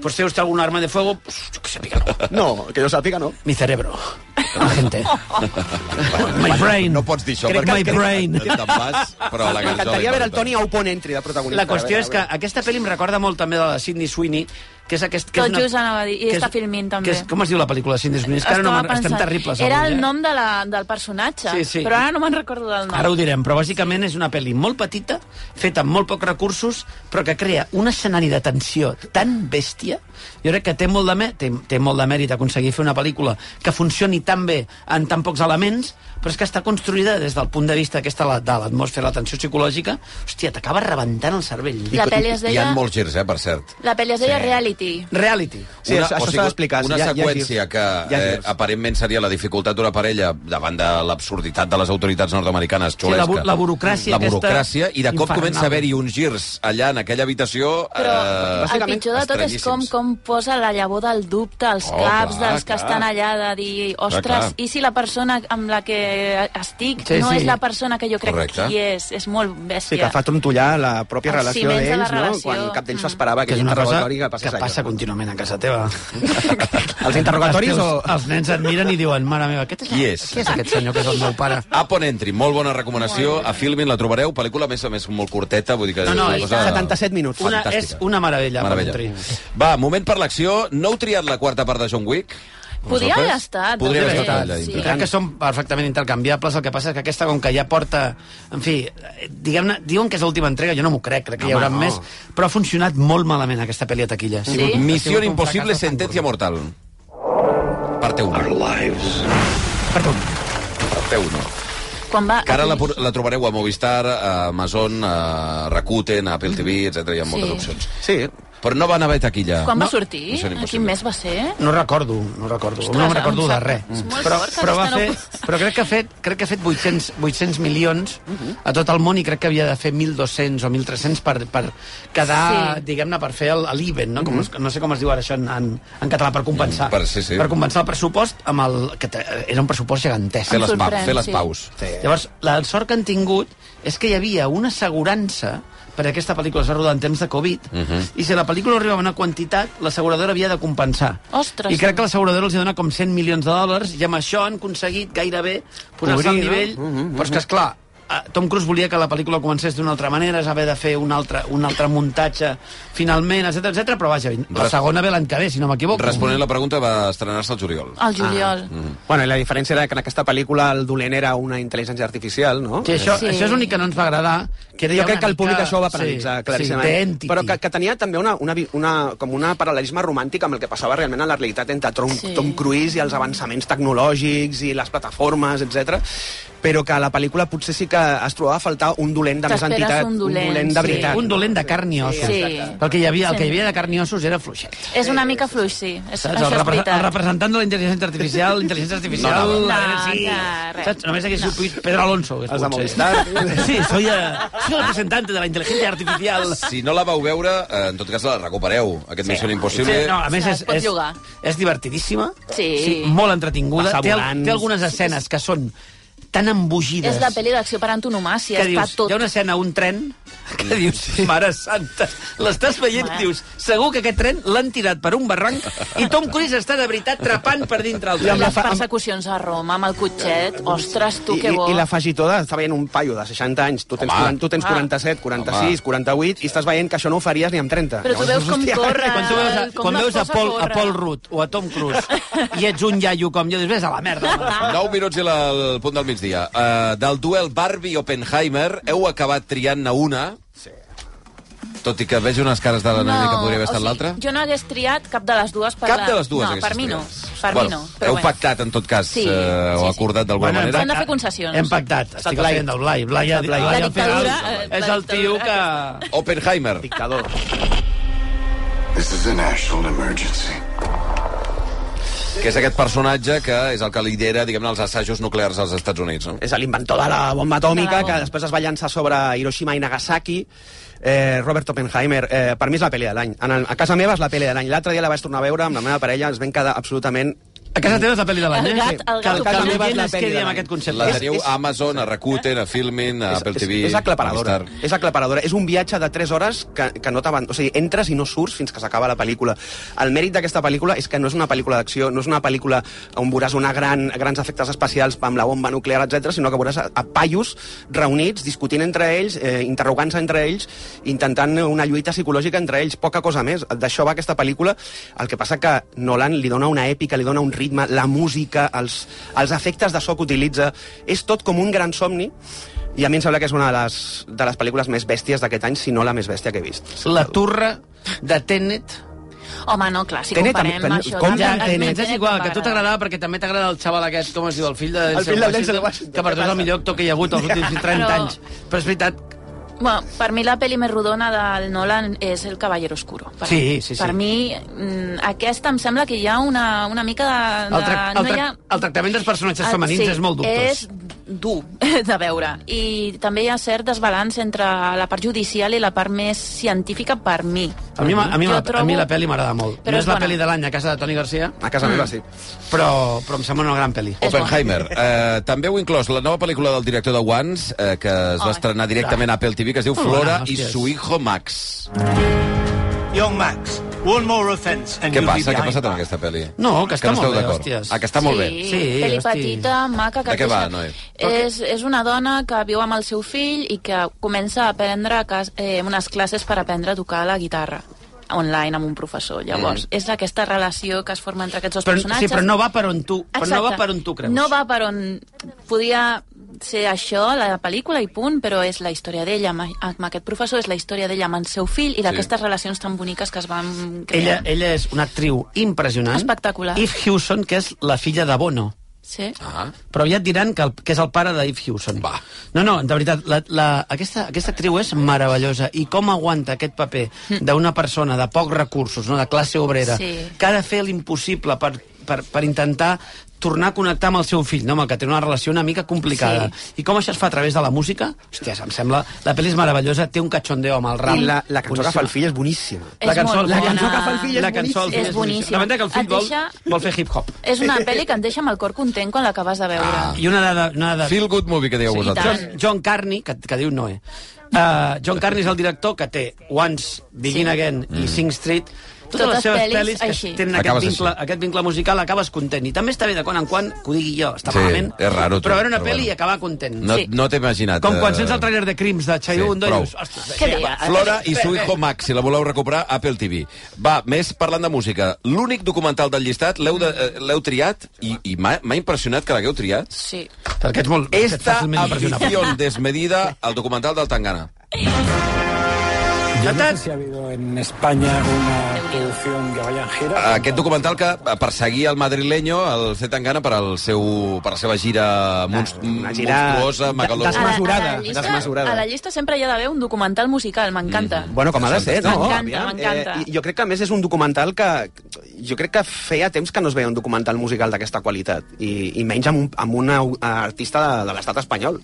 Potser us té algun arma de fuego? Pues, jo que sàpiga, no. No, que jo sàpiga, no. Mi cerebro. Gente. My brain. No pots dir això Crec que- perquè My brain. te'n vas, però a la M'encantaria veure Garjola. el Toni a Open Entry de protagonista. La qüestió A veure, és que a veure. aquesta pel·li em recorda molt també de la Sidney Sweeney, que és aquest... Que Tot és una... just anava a dir, i que està és- filmint també. Que és, com es diu la pel·lícula de Sidney Sweeney? És que ara no Estava me'n- estem pensant. terribles. Era avui, el eh? nom de la, del personatge, Sí, sí. però ara no me'n recordo del nom. Ara ho direm, però bàsicament és una pel·li molt petita, feta amb molt pocs recursos, però que crea un escenari de tensió tan bèstia. Jo crec que té molt de, mè té, té molt de mèrit aconseguir fer una pel·lícula que funcioni tan bé en tan pocs elements, però és que està construïda des del punt de vista aquesta la- de l'atmosfera, la tensió psicològica. Hòstia, t'acaba rebentant el cervell. La pel·li es Hi ha deia, molts girs, eh, per cert. la pel·li es deia Sí. Reality. Reality. Sí, això- això o sigui, s'ha d'explicar, sí, Una hi ha- hi ha seqüència girs. que Hi ha eh, girs. aparentment seria la dificultat d'una parella davant de l'absurditat de les autoritats nord-americanes xulesca. la bu- la burocràcia La burocràcia, aquesta i de cop infernal. comença a haver-hi uns girs allà en aquella habitació... Però Eh, el pitjor de tot és com, estranyíssims. com posa la llavor del dubte als Oh, caps clar, dels que clar. estan allà de dir, ostres, Clar, clar. i si la persona amb la que estic Sí, no sí. és la persona que jo crec Correcte. que és. És molt bèstia. Sí, que fa trontollar la pròpia Els relació ciments de la d'ells, no? relació. Quan cap d'ells Mm. s'esperava que que és hi una cosa interrogatori que que passa, passés allò. contínuament a casa teva. Els interrogatoris Els o- Els nens et miren i diuen, mare meva, aquest és, Qui és? Qui és aquest senyor que és el meu pare? Upon Entry, molt bona recomanació. A Filmin la trobareu, pel·lícula a més a més molt curteta, vull dir que... No, no, és una és cosa- 77 minuts. Una, és Fantàstica. una meravella. Meravella. Upon Entry. Va, moment per l'acció. No heu triat la quarta part de John Wick? Podria Vosaltres? haver estat, Podria haver també. estat eh, allà. Sí. I dintre. crec que són perfectament intercanviables, el que passa és que aquesta, com que ja porta... En fi, eh, diguem-ne, diuen que és l'última entrega, jo no m'ho crec, crec que hi Home, haurà no. més, però ha funcionat molt malament aquesta pel·li a taquilles. Sí? Misión imposible, sentencia mortal. Parte 1. Parte 1. Parte 1. Quan va... Que ara la, por- la trobareu a Movistar, a Amazon, a Rakuten, a Apple TV, etc. Hi ha moltes Sí. opcions. Mm. Sí. Però no van haver taquilla. Quan no. va sortir? Missió A Impossible. quin mes va ser? No recordo, no recordo. eh? Ostres, no em em recordo de sap- res. és molt Però, fort que però, va aquesta fer, no- però crec que ha fet, crec que ha fet 800, 800 milions Mhm. a tot el món i crec que havia de fer 1.200 o 1.300 per, per quedar, Sí. diguem-ne, per fer el- l'Iven, no? Mhm. Com, es- no sé com es diu ara això en, en, en català, per compensar. Mm, Per- sí, sí. per compensar el pressupost amb el... que te- era un pressupost gigantesc. Fer les, pa fer les paus. Sí. Llavors, la sort que han tingut és que hi havia una assegurança perquè aquesta pel·lícula es va rodar en temps de Covid, Mhm. i si la pel·lícula arribava a una quantitat, l'asseguradora havia de compensar. Ostres. I crec que l'asseguradora els hi dona com 100 milions de dòlars, i amb això han aconseguit gairebé posar-se al Cobrir, no? nivell... Mhm, Però és que, esclar, eh, Tom Cruise volia que la pel·lícula comencés d'una altra manera, es va haver de fer un altre, un altre muntatge finalment, etc etc. però vaja, la Res- segona ve l'any que ve, si no m'equivoco. Responent la pregunta, va estrenar-se al juliol. Al juliol. mm. Bueno, i la diferència era que en aquesta pel·lícula el dolent era una intel·ligència artificial, no? Sí, això, sí. això és l'únic que no ens va agradar. Que era jo una crec que el públic mica- això ho va paralitzar, sí, sí, claríssimament. Sí, Sí, però que, que tenia també una, una, vi- una, com una paral·lelisme romàntic amb el que passava realment en la realitat entre Tom, Sí. sí. Tom Cruise i els avançaments tecnològics i les plataformes, etc. però que a la pel·lícula potser sí que es trobava a faltar un dolent de més T'esperes entitat, un dolent, de sí. veritat. Un dolent de carn i ossos. Sí. El que hi havia, el que hi Sí. havia de carn i ossos era fluixet. És una mica fluix, sí. És, Saps? El, això és repre el veritat. representant de la intel·ligència artificial, la intel·ligència artificial... No, no, eh, no, sí. no, res. Saps? Només hagués sigut Pedro Alonso. hagués Els de pogut ser. Movistar. Sí, soy, eh, soy el representante de la intel·ligència artificial. Si no la vau veure, eh, en tot cas la recupereu. Aquest sí. Missió Impossible... Sí, no, a més, és, Es pot és, llogar. és divertidíssima, Sí. molt entretinguda. Passa Té, al- volant. té algunes escenes que són tan embogides... És la pel·li d'acció per antonomàsia, que està dius, tot. hi ha una escena, un tren, que Mm. dius, mare santa, l'estàs veient i dius, segur que aquest tren l'han tirat per un barranc i Tom Cruise està de veritat trepant per dintre el I tren. les persecucions a Roma, amb el cotxet, ostres, tu, I, que i, bo. i l'afegitó de... Està veient un paio de 60 anys, tu tens, Home. 40, tu tens Ah. 47, 46, 48, i estàs veient que això no ho faries ni amb 30. Però tu veus com hòstia, corre, Quan, tu veus a, com quan les veus a coses Paul, a corren. Paul Rudd o a Tom Cruise i ets un iaio com jo, dius, vés a la merda. home. 9 minuts i la, el punt del migdia. Eh, Uh, del duel Barbie-Oppenheimer, heu acabat triant-ne una. Sí. Tot i que veig unes cares de la noia que podria haver o estat sigui, l'altra. Jo no hagués triat cap de les dues. Per Cap la- de les dues No, hagués per mi no. triat. Per bueno, mi no. Heu Però bueno. pactat, en tot cas, Sí, eh, o acordat d'alguna Bueno, hem manera? Hem de fer concessions. Hem pactat. Està Estic clar. veient del Blai. Blai, La Blai, Blai, al final dictadura, eh, la és el tio dictadura que... Oppenheimer. Dictador. This is a national emergency. Que és aquest personatge que és el que lidera, diguem-ne, els assajos nuclears als Estats Units, no? És l'inventor de la bomba atòmica, que després es va llançar sobre Hiroshima i Nagasaki. Eh, Robert Oppenheimer, eh, per mi és la pel·li de l'any. En el- A casa meva és la pel·li de l'any. L'altre dia la vaig tornar a veure amb la meva parella, ens vam quedar absolutament... A casa teva és la pel·li de l'any, eh? El gat- el gat Que a casa Oppenheimer. meva és la Es quedi pel·li de amb l'any. aquest concepte. La teniu a Amazon, a Rakuten, a Filmin, a eh, Apple TV... és aclaparadora. a Movistar. És aclaparadora. És un viatge de 3 hores que, que no t'aban... O sigui, entres i no surts fins que s'acaba la pel·lícula. El mèrit d'aquesta pel·lícula és que no és una pel·lícula d'acció, no és una pel·lícula on veuràs una gran, grans efectes especials amb la bomba nuclear, etc, sinó que veuràs a, a paios reunits, discutint entre ells, eh, interrogant-se entre ells, intentant una lluita psicològica entre ells, poca cosa més. D'això va aquesta pel·lícula. El que passa que Nolan li dona una èpica, li dona un ritme, la música, els, els efectes de so que utilitza. És tot com un gran somni i a mi em sembla que és una de les, de les pel·lícules més bèsties d'aquest any, si no la més bèstia que he vist. La turra de Tenet. Home, no, clar, si Tenet, comparem amb- això... com amb- ja, amb- Tenet, és igual, que compara. a tu t'agradava perquè també t'agrada el xaval aquest, com es diu, el fill de El fill de Denzel Washington, que per tu és què el millor actor que hi ha hagut els últims 30 Però- anys. Però és veritat, Bueno, per mi la pel·li més rodona del Nolan és El Caballero Oscuro. Per, Sí, sí, sí. Per mi, mm, aquesta em sembla que hi ha una, una mica de... de el, tra el, no hi tra ha... el tractament dels personatges Ah, femenins és molt dubtós. És dur de veure. I també hi ha cert desbalanç entre la part judicial i la part més científica per mi. A mi, ma- a mi, Jo la, a mi trobo- la pel·li m'agrada molt. Però no és és la bona. pel·li de l'any a casa de Toni Garcia. A Mm. casa meva, sí. Però, però em sembla una gran pel·li. Oppenheimer. Eh, també heu inclòs la nova pel·lícula del director de Once, eh, que es va estrenar directament a Apple TV, que es diu Molt bona, Flora i hòsties. su hijo Max. Young Max, one more offense and Què you'll be passa? Què ha behind passat amb aquesta pel·li? No, que està no esteu molt bé, d'acord. hòsties. Ah, que està molt bé. Sí, pel·li petita, maca. De Que què té- va, noi? És, és una dona que viu amb el seu fill i que comença a aprendre cas, eh, unes classes per aprendre a tocar la guitarra online amb un professor. Llavors, Mm. mm. és aquesta relació que es forma entre aquests dos Però, personatges. sí, però no va per on tu, però no Exacte. va per on tu creus. No va per on... Podia ser això, la pel·lícula, i punt, però és la història d'ella amb, amb aquest professor, és la història d'ella amb el seu fill i d'aquestes relacions tan boniques que es van Ella, crear. ella és una actriu impressionant. Espectacular. Eve Hewson, que és la filla de Bono. Sí. Ah. Però aviat diran que, el, que és el pare d'Eve Hewson. Va. No, no, de veritat, la, la, aquesta, aquesta actriu és meravellosa. I com aguanta aquest paper Hm. d'una persona de pocs recursos, no, de classe obrera, Sí. que ha de fer l'impossible per, per, per intentar tornar a connectar amb el seu fill, no, amb el que té una relació una mica complicada. Sí. I com això es fa a través de la música? Hòsties, em sembla... La pel·li és meravellosa, té un cachondeo amb el rap. I la, la cançó que fa el Boníssima. fill és boníssima. La cançó, molt la bona. cançó que fa el fill és La cançó del boníssima. fill és boníssima. La veritat que el fill Et vol, deixa- vol fer hip-hop. És una pel·li que et deixa amb el cor content quan l'acabes de Ah. veure. I una dada... Una dada... Feel good movie, que dieu Sí, vosaltres. John, John Carney, que, que diu Noé. Uh, John Carney és el director que té Once, Begin Sí. Again i Sing Street. Totes, Totes les seves pel·lis pel·lis que així. tenen Mm. Acabes aquest així. vincle, aquest vincle musical acabes content. I també està bé de quan en quan que ho digui jo, està Sí, malament. és raro, tu, Però veure una però pel·li bueno. i acabar content. No, no t'he imaginat. Com quan eh, sents el trailer de Crims de Chayu Sí, sí, Undo i prou. dius... "Ostres, Què sí, dius? va, Flora i su espera, hijo Max, si la voleu recuperar, Apple TV. Va, més parlant de música. L'únic documental del llistat l'heu de- eh, l'heu triat i, i m'ha m'ha impressionat que l'hagueu triat. Sí. Perquè ets molt... Esta fàcilment impressionable. afición desmedida al documental del Tangana. Yo no sé si ha habido en España una producción de Vallanjera. Aquest documental que perseguia el madrileño, el C. Tangana, per, al seu, per la seva gira, monst gira monstruosa, de- megalògica. desmesurada, A la llista sempre hi ha d'haver un documental musical, m'encanta. Mm. Bueno, com ha de ser, no? M'encanta, Aviam, m'encanta. Eh, i jo crec que, a més, és un documental que... Jo crec que feia temps que no es veia un documental musical d'aquesta qualitat, i, i menys amb, un, amb una au- artista de, de l'estat espanyol.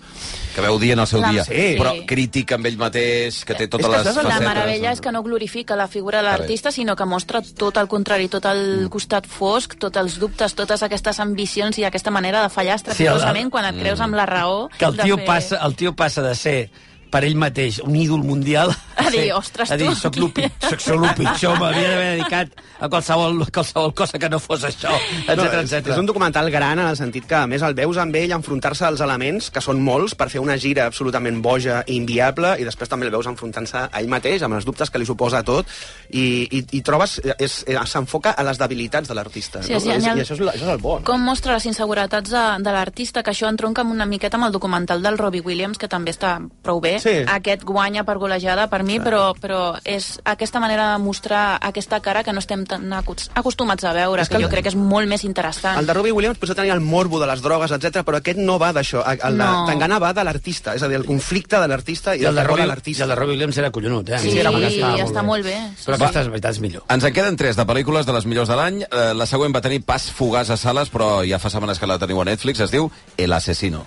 Que veu dia en el seu La- dia. Sí. Però crític amb ell mateix, que té totes És que les això és la La facetes. meravella és que no glorifica la figura de l'artista, sinó que mostra tot el contrari, tot Mm. el costat fosc, tots els dubtes, totes aquestes ambicions i aquesta manera de fallar estrepitosament el- quan et creus amb la raó. Que el de tio, fer- passa, el tio passa de ser per ell mateix, un ídol mundial... A dir, ser- "Ostres, a dir, tu, soc qui lo, pi- eres?" soc, soc lo pitjor, m'havia d'haver dedicat a qualsevol, qualsevol cosa que no fos això, etc és, etc. és un documental gran en el sentit que, a més, el veus amb ell enfrontar-se als elements, que són molts, per fer una gira absolutament boja i inviable, i després també el veus enfrontant-se a ell mateix, amb els dubtes que li suposa tot, i, i, i trobes... eh, és- eh, S'enfoca a les debilitats de l'artista. Sí, no? és genial. I això és, la- això és el bo. Com mostra les inseguretats de, de l'artista, que això entronca amb una miqueta amb el documental del Robbie Williams, que també està prou bé. Sí. Aquest guanya per golejada, per mi, però, però és aquesta manera de mostrar aquesta cara que no estem tan acus- acostumats a veure, És que, que el- jo crec que és molt més interessant. El de Robbie Williams potser tenia el morbo de les drogues, etc, però aquest no va d'això. El de No. Tangana va de l'artista, és a dir, el conflicte de l'artista i, I el, de terror Robbie, de l'artista. I el de Robbie Williams era collonut, eh? Sí, era està, molt bé. Però aquesta, és veritat, és millor. Ens en queden tres de pel·lícules de les millors de l'any. Eh, la següent va tenir pas fugaç a sales, però ja fa setmanes que la teniu a Netflix. Es diu El asesino.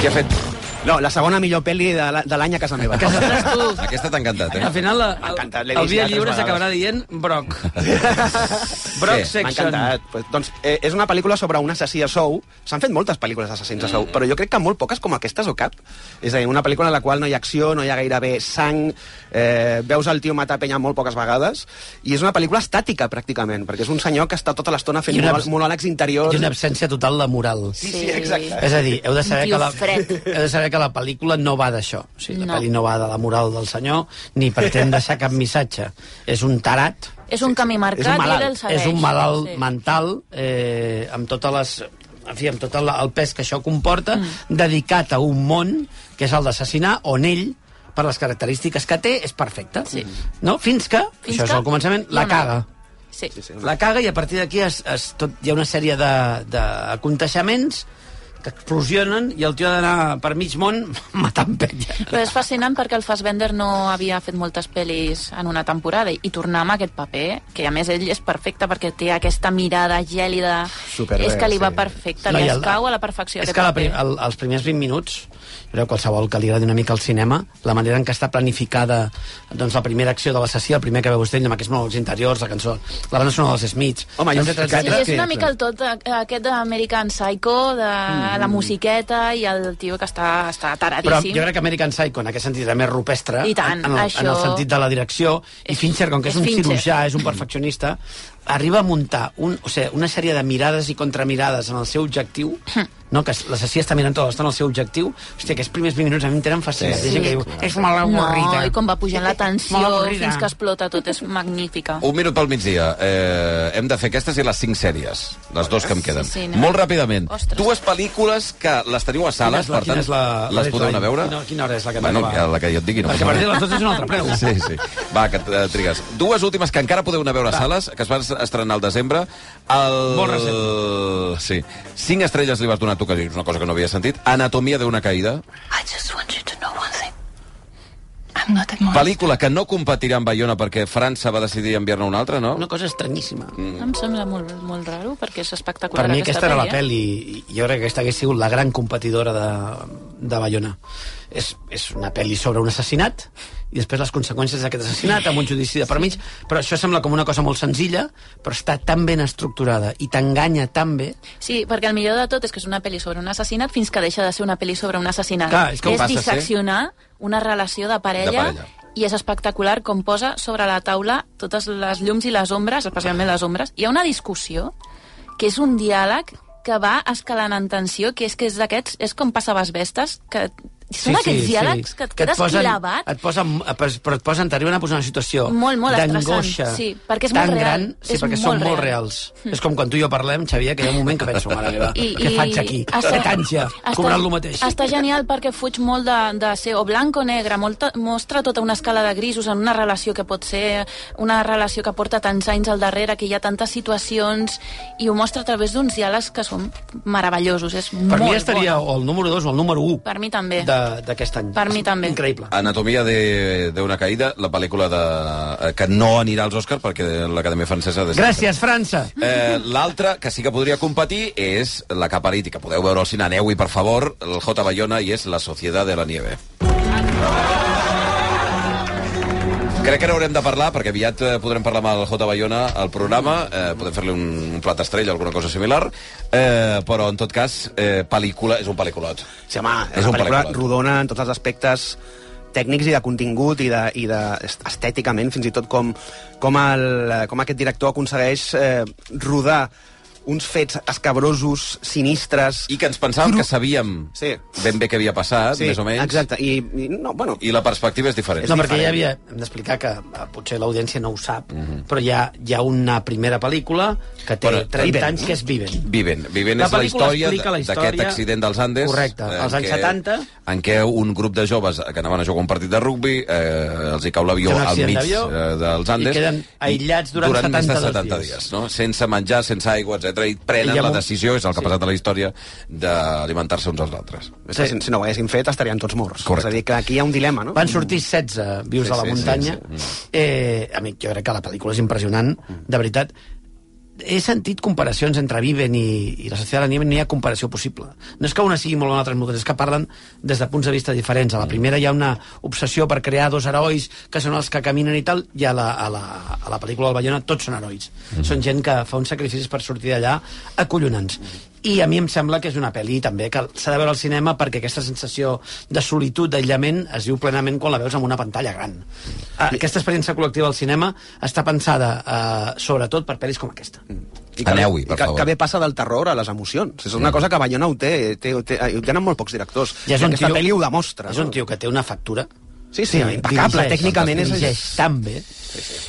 Què ha fet? No, la segona millor pel·li de la- de l'any a casa meva. A casa Aquesta t'ha encantat, eh? Al final, la, M'ha encantat, el, l'he el vist dia ja tres lliure vegades. s'acabarà dient Brock. Brock Section. M'ha encantat. Pues, doncs eh, és una pel·lícula sobre un assassí a sou. S'han fet moltes pel·lícules d'assassins a sou, Mm. però jo crec que molt poques com aquestes o cap. És a dir, una pel·lícula en la qual no hi ha acció, no hi ha gairebé sang, eh, veus el tio matar penya molt poques vegades, i és una pel·lícula estàtica, pràcticament, perquè és un senyor que està tota l'estona fent I una- una... monòlegs interiors. I una absència total de moral. Sí, sí, exacte. És a dir, heu de saber, Un tio que la, fred. heu de saber que la pel·lícula no va d'això. O sigui, la No. no. pel·li no va de la moral del senyor ni pretén deixar cap missatge. És un tarat, És un camí marcat és un i ell el malalt, segueix. és un malalt sí. mental eh, amb totes les en fi, amb tot el, el pes que això comporta, mm. dedicat a un món, que és el d'assassinar, on ell, per les característiques que té, és perfecte. Sí. No? Fins que, Fins Fins això que- és el començament, hi ha la una- caga. Sí. La caga i a partir d'aquí es, es, tot, hi ha una sèrie de- d'aconteixements que explosionen i el tio ha d'anar per mig món matant penya. Però és fascinant perquè el Fassbender no havia fet moltes pel·lis en una temporada i tornar amb aquest paper, que a més ell és perfecte perquè té aquesta mirada gèlida, Superbé, és que li va sí. perfecte, No, li i el- escau a la perfecció És aquest que la, paper. prim- el, els primers 20 minuts, jo crec que qualsevol que li agradi una mica el cinema, la manera en què està planificada doncs, la primera acció de l'assassí, el primer que veu vostè, amb aquests molts interiors, la cançó, la banda sonora dels Smiths... Home, jo- etcètera, Sí, etcètera. és una mica el tot eh, aquest d'American Psycho, de la musiqueta i el tio que està, està Mm. Però taradíssim. jo crec que American Psycho, en aquest sentit, era més rupestre, I en, tant, en, el, en el això- sentit de la direcció, i Fincher, com que és, és un Fincher. cirurgià, és un perfeccionista, arriba a muntar un, o sigui, una sèrie de mirades i contramirades en el seu objectiu, no, que l'assassí està mirant tot l'estona el seu objectiu, hòstia, aquests primers 20 minuts a mi em tenen fascinat. Sí, Sí. sí, que diu, és molt No, avorrida. i com va pujant la tensió Molt avorrida. fins que explota tot, és magnífica. Un minut pel migdia. Eh, hem de fer aquestes i les cinc sèries. Les dues que em queden. Sí, sí, no. Molt ràpidament. Ostres. Dues pel·lícules que les teniu a Quina sales, és la- per tant, quina és la- la les podeu anar a veure. Quina, quina hora és la que Bueno, t'acaba? que- la que jo et digui. No Perquè a partir de les 12 és un altre preu. Sí, sí. Va, que eh, trigues. Dues últimes que encara podeu anar a veure a sales, que es van estrenar al desembre. El... Molt Sí. Cinc estrelles li vas donar tu, que és una cosa que no havia sentit. Anatomia d'una caïda. I just want you to know one thing. I'm not a monster. Pel·lícula que no competirà amb Bayona perquè França va decidir enviar-ne una altra, no? Una cosa estranyíssima. No Em sembla molt, molt raro, perquè és espectacular. Per mi aquesta era la pel·li, eh? pel·li, i jo crec que aquesta hagués sigut la gran competidora de, de Bayona. És, és una pel·li sobre un assassinat, i després les conseqüències d'aquest assassinat, amb un judici de per mig, però això sembla com una cosa molt senzilla, però està tan ben estructurada i t'enganya tan bé... Sí, perquè el millor de tot és que és una pel·li sobre un assassinat fins que deixa de ser una pel·li sobre un assassinat. Clar, és que ho és passa a ser- disseccionar una relació de parella, De parella. i és espectacular com posa sobre la taula totes les llums i les ombres, especialment les ombres. Hi ha una discussió que és un diàleg que va escalant en tensió, que és que és d'aquests, és com passava vestes, que són aquests diàlegs que et quedes posen, clavat Et posen, eh, però però et posen, t'arriben a posar en una situació Molt, molt d'angoixa. estressant, sí, perquè és tan molt real, gran, sí, és perquè molt són molt real. Hm. reals. És com quan tu i jo parlem, Xavier, que hi ha un moment que penso, mare meva, I- què i- faig aquí? està- Set anys ja, cobrant el mateix. Està genial perquè fuig molt de, de ser o blanc o negre, molta, mostra tota una escala de grisos en una relació que pot ser una relació que porta tants anys al darrere, que hi ha tantes situacions, i ho mostra a través d'uns diàlegs que són meravellosos. És Per molt mi estaria bona. o el número 2 o el número 1 Per mi també. d'aquest any. Per mi també. Increïble. Anatomia de- d'una caïda, la pel·lícula de, eh, que no anirà als Oscars perquè l'Acadèmia Francesa... De Gràcies, França. Eh, L'altra que sí que podria competir és la que ha parit i que podeu veure al cine. Aneu-hi, per favor, el J. Bayona i és La Societat de la Nieve. Crec que n'haurem de parlar, perquè aviat eh, podrem parlar amb el J. Bayona al programa, eh, podem fer-li un, un plat estrella o alguna cosa similar, eh, però en tot cas, eh, pel·lícula, és un pel·lículot. Sí, home, És és un una pel·lícula pel·lícula. rodona en tots els aspectes tècnics i de contingut i, de, i de est- estèticament, fins i tot com, com, el, com aquest director aconsegueix eh, rodar uns fets escabrosos, sinistres... I que ens pensàvem que sabíem sí. ben bé què havia passat, Sí, més o menys. exacte. I, i, no, bueno, I la perspectiva és diferent. Mhm. No, perquè ja havia... Hem d'explicar que eh, potser l'audiència no ho sap, però hi ha, hi ha una primera pel·lícula que té Però, eh, 30 Viven. anys, que és Viven. Viven. Viven La és la pel·lícula història explica la història- d'aquest accident dels Andes. Correcte, eh, als en anys què- 70. En què un grup de joves que anaven a jugar un partit de rugbi eh, els hi cau l'avió Té un al accident mig d'avió eh, dels i Andes. queden aïllats durant durant més de 72 70 dies. dies. no? sense menjar, sense aigua, etc. I I prenen amb la un- decisió, és el que ha passat a la història, d'alimentar-se uns als altres. és que si, si no ho haguessin fet estarien tots morts. Correcte. És a dir, que aquí hi ha un dilema, no? Van sortir 16 vius Sí, sí, a la sí, sí, muntanya. sí. Mm. Sí, sí. Eh, amic, jo crec que la pel·lícula és impressionant, de veritat. He sentit comparacions entre Viven i, i la Societat de la Nieve, no hi ha comparació possible. No és que una sigui molt bona, l'altra és molt dolenta, és que parlen des de punts de vista diferents. Mm. A la primera hi ha una obsessió per crear dos herois que són els que caminen i tal, i a la, a la, a la pel·lícula del Bayona tots són herois. Mm. Són gent que fa uns sacrificis per sortir d'allà acollonants. I a mi em sembla que és una pel·li també que s'ha de veure al cinema perquè aquesta sensació de solitud, d'aïllament, es viu plenament quan la veus en una pantalla gran. Ah, Aquesta experiència col·lectiva al cinema està pensada eh, sobretot per pel·lis com aquesta. que- Aneu-hi, per que, favor. Mm. Que bé passa del terror a les emocions. És una cosa que Bayona ho té, té, té, té, ho tenen molt pocs directors. I és I un aquesta tio- pel·li ho demostra. És un tio que té una factura Sí, sí, impecable, tècnicament és- Dirigeix tan bé.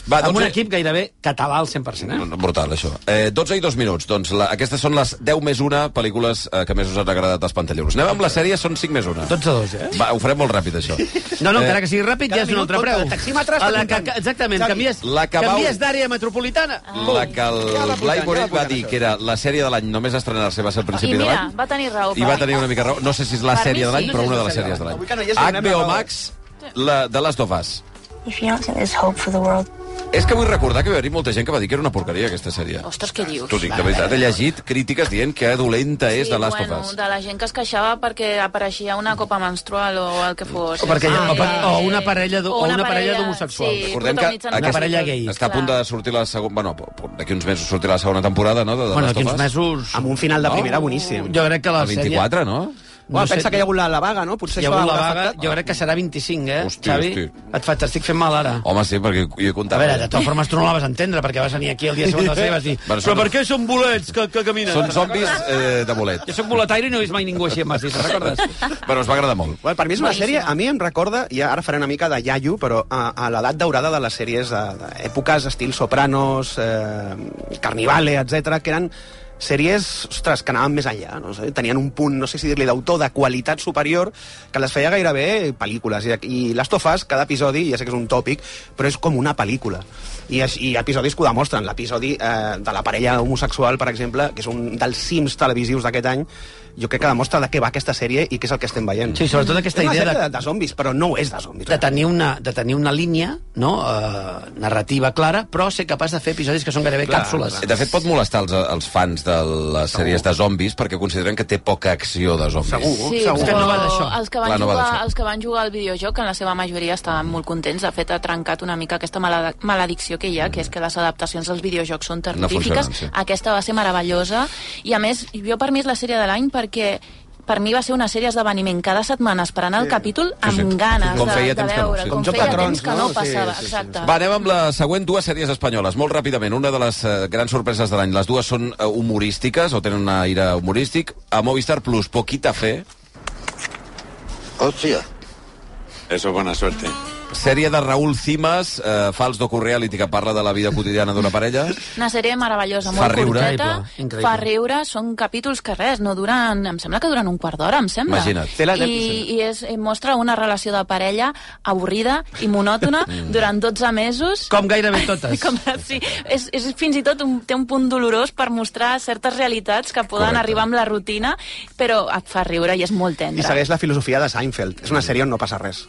Va, amb doncs, un eh, equip gairebé català al 100%. Eh? No, no, Brutal, això. Eh, 12 i 2 minuts. Doncs la, aquestes són les 10 més 1 pel·lícules eh, que més us han agradat als Pantalleros. Anem amb la sèrie, són 5 més 1. 12 2, eh? Va, ho farem molt ràpid, això. Eh, No, no, encara que sigui ràpid, Cada ja és un minut altre compta, preu. el taxímetre està A la comptant. que- Exactament, Xavi, canvies, la que va- canvies d'àrea metropolitana. La que el Blai Borell va dir que era la sèrie de l'any, només estrenar-se va ser al I principi de mira, l'any. va tenir raó. I va tenir una mica raó. No sé si és la Per mi sèrie de l'any, sí. però una de les No sé si sèries és de la l'any. sèrie de l'any. Avui que no hi HBO és, Max, la, de les Dofas. If you don't think there's hope for the world, És que vull recordar que hi va haver molta gent que va dir que era una porqueria, aquesta sèrie. Ostres, què dius? T'ho dic, de veritat. He llegit crítiques dient que dolenta és de Last bueno, of Us. de la gent que es queixava perquè apareixia una copa menstrual o el que fos. Ah, O, perquè, hi ha- o, per- o una parella, d'ho- O o una una parella parella, d'homosexuals. sí, Recordem que protagonitzen aquesta- una parella gay. Està a punt de sortir la segona... Bueno, d'aquí uns mesos sortirà la segona temporada, no? De, de Bueno, Last d'aquí of uns Us. mesos... Amb un final de primera boníssim. Jo crec que la El 24, no? Bueno, no sé- pensa que hi ha hagut la, la vaga, no? Si Potser hi ha això hagut la haurà vaga, afectat. jo crec que serà 25, eh, Hosti, Xavi? hosti. Et fa, t'estic fent mal ara. Home, sí, perquè jo he comptat. A veure, de totes formes tu no la vas entendre, perquè vas venir aquí el dia següent de la sèrie i vas dir Bueno, però són- per què són bolets que, que caminen? Són zombis eh, de bolet. Jo sóc boletaire i no he vist mai ningú així amb assis, te'n recordes? Però us va agradar molt. Bueno, per mi és una Boníssima. sèrie, a mi em recorda, i ara faré una mica de iaio, però a, a l'edat daurada de les sèries de- d'èpoques, estil Sopranos, eh, Carnivale, etc que eren sèries, ostres, que anaven més enllà, no sé, tenien un punt, no sé si dir-li d'autor, de qualitat superior, que les feia gairebé pel·lícules. I, i Last of Us, cada episodi, ja sé que és un tòpic, però és com una pel·lícula. I, aix- i episodis que ho demostren. L'episodi eh, de la parella homosexual, per exemple, que és un dels cims televisius d'aquest any, jo crec que demostra de què va aquesta sèrie i què és el que estem veient. Sí, sobretot aquesta És una idea sèrie de- de zombis, però no ho és de zombis. de tenir una, de tenir una línia no, eh, narrativa clara, però ser capaç de fer episodis que són gairebé clar, càpsules. De fet, pot molestar els, els fans de les sèries de zombis perquè consideren que té poca acció de zombis. Sí, però els que, van Clar, no va jugar, d'això. els que van jugar al videojoc, que en la seva majoria estaven molt contents, de fet ha trencat una mica aquesta malada- maledicció que hi ha, que és que les adaptacions als videojocs són terrorífiques. funcionen, sí. Aquesta va ser meravellosa, i a més, jo per mi és la sèrie de l'any perquè per mi va ser una sèrie d'esdeveniment cada setmana esperant el Sí. capítol Sí, sí. amb ganes Com de, feia de temps que no, veure, sí. com Com Joc de feia Trons, temps que no, no? Sí, passava, sí, sí, sí. exacte. Va, anem amb la següent, dues sèries espanyoles, molt ràpidament. Una de les eh, grans sorpreses de l'any. Les dues són eh, humorístiques, o tenen un aire humorístic. A Movistar Plus, Poquita Fe, Hostia. Eso, buena suerte. Sèrie de Raül Cimas, eh, fals docu-reality que parla de la vida quotidiana d'una parella. Una sèrie meravellosa, Fa molt riure. curteta, Increïble, increïble. fa riure, són capítols que res, no duren, em sembla que duren un quart d'hora, em sembla. Imagina't. Té la- I, i és, i mostra una relació de parella avorrida i monòtona durant 12 mesos. Com gairebé totes. Com, sí, és, és fins i tot un, té un punt dolorós per mostrar certes realitats que poden Correcte. arribar amb la rutina, però et fa riure i és molt I tendre. segueix la filosofia de Seinfeld. És una sèrie on no passa res.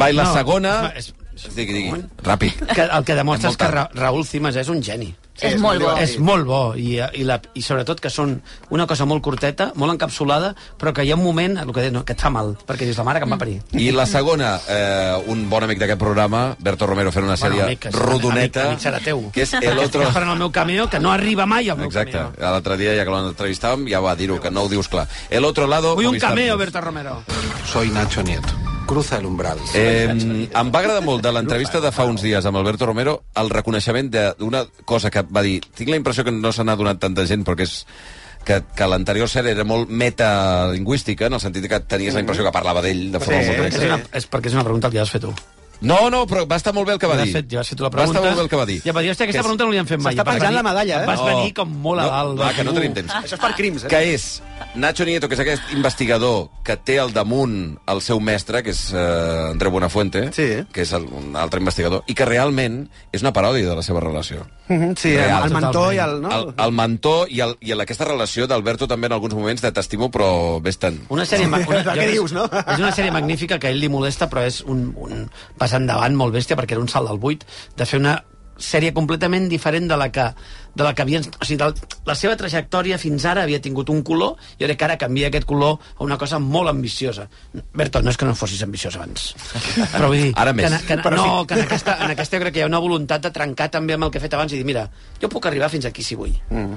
Va, i la No, segona... va, És... Digui, digui. Ràpid. Que el que demostra És és que Ra Raül Cimas és un geni. Sí, és molt bo. És molt bo, i, eh, i, la, i sobretot que són una cosa molt curteta, molt encapsulada, però que hi ha un moment, el que, deies, no, que et fa mal, perquè dius la mare que Mm. em va parir. I la segona, eh, un bon amic d'aquest programa, Berto Romero, fent una sèrie amic, que serà- rodoneta, amic- amic serà teu. que és el Estic otro... esperant el meu cameo, que no arriba mai al meu Exacte, cameo. l'altre dia, ja que l'entrevistàvem, ja va dir-ho, que no ho dius clar. El otro lado... Vull un Movistar cameo, Plus. Berta Romero. Soy Nacho Nieto. cruza el umbral. Eh, em va agradar molt de l'entrevista de fa uns dies amb Alberto Romero el reconeixement de- d'una cosa que va dir tinc la impressió que no se n'ha donat tanta gent però que és que, que l'anterior sèrie era molt metalingüística, en el sentit que tenies la impressió que parlava d'ell de forma Sí, molt és, una, directa. és perquè és una pregunta que ja has fet tu. No, no, però va estar molt bé el que va Ja dir. has fet- ja has fet tu la Va pregunta. estar molt bé el que va dir. Ja va dir, "Hòstia, aquesta Que és- pregunta no li han fet mai". S'està Vas penjant venir- la medalla, eh? vas venir com molt a dalt, Oh. No, va, vas que no dir, tenim "Uh". temps. Això és per crims, eh? Ah. Que és Nacho Nieto, que és aquest investigador que té al damunt el seu mestre, que és eh, Andreu Buenafuente, sí. que és el, un altre investigador, i que realment és una paròdia de la seva relació. Mhm, Sí, el, Real. el mentor i el... No? El, el mentor i, el, i aquesta relació d'Alberto també en alguns moments de t'estimo, però vés tant. Una sèrie... ma- Una, Què dius, no? És una sèrie magnífica que a ell li molesta, però és un, un pas endavant molt bèstia, perquè era un salt al buit, de fer una sèrie completament diferent de la que, de la que havien... O sigui, del, la seva trajectòria fins ara havia tingut un color i ara que ara canvia aquest color a una cosa molt ambiciosa. Berto, no és que no fossis ambiciós abans. Però vull dir... Ara més. Que, en- que, en- Però no, sí. que en aquesta, en aquesta jo crec que hi ha una voluntat de trencar també amb el que he fet abans i dir, mira, jo puc arribar fins aquí si vull. Mm.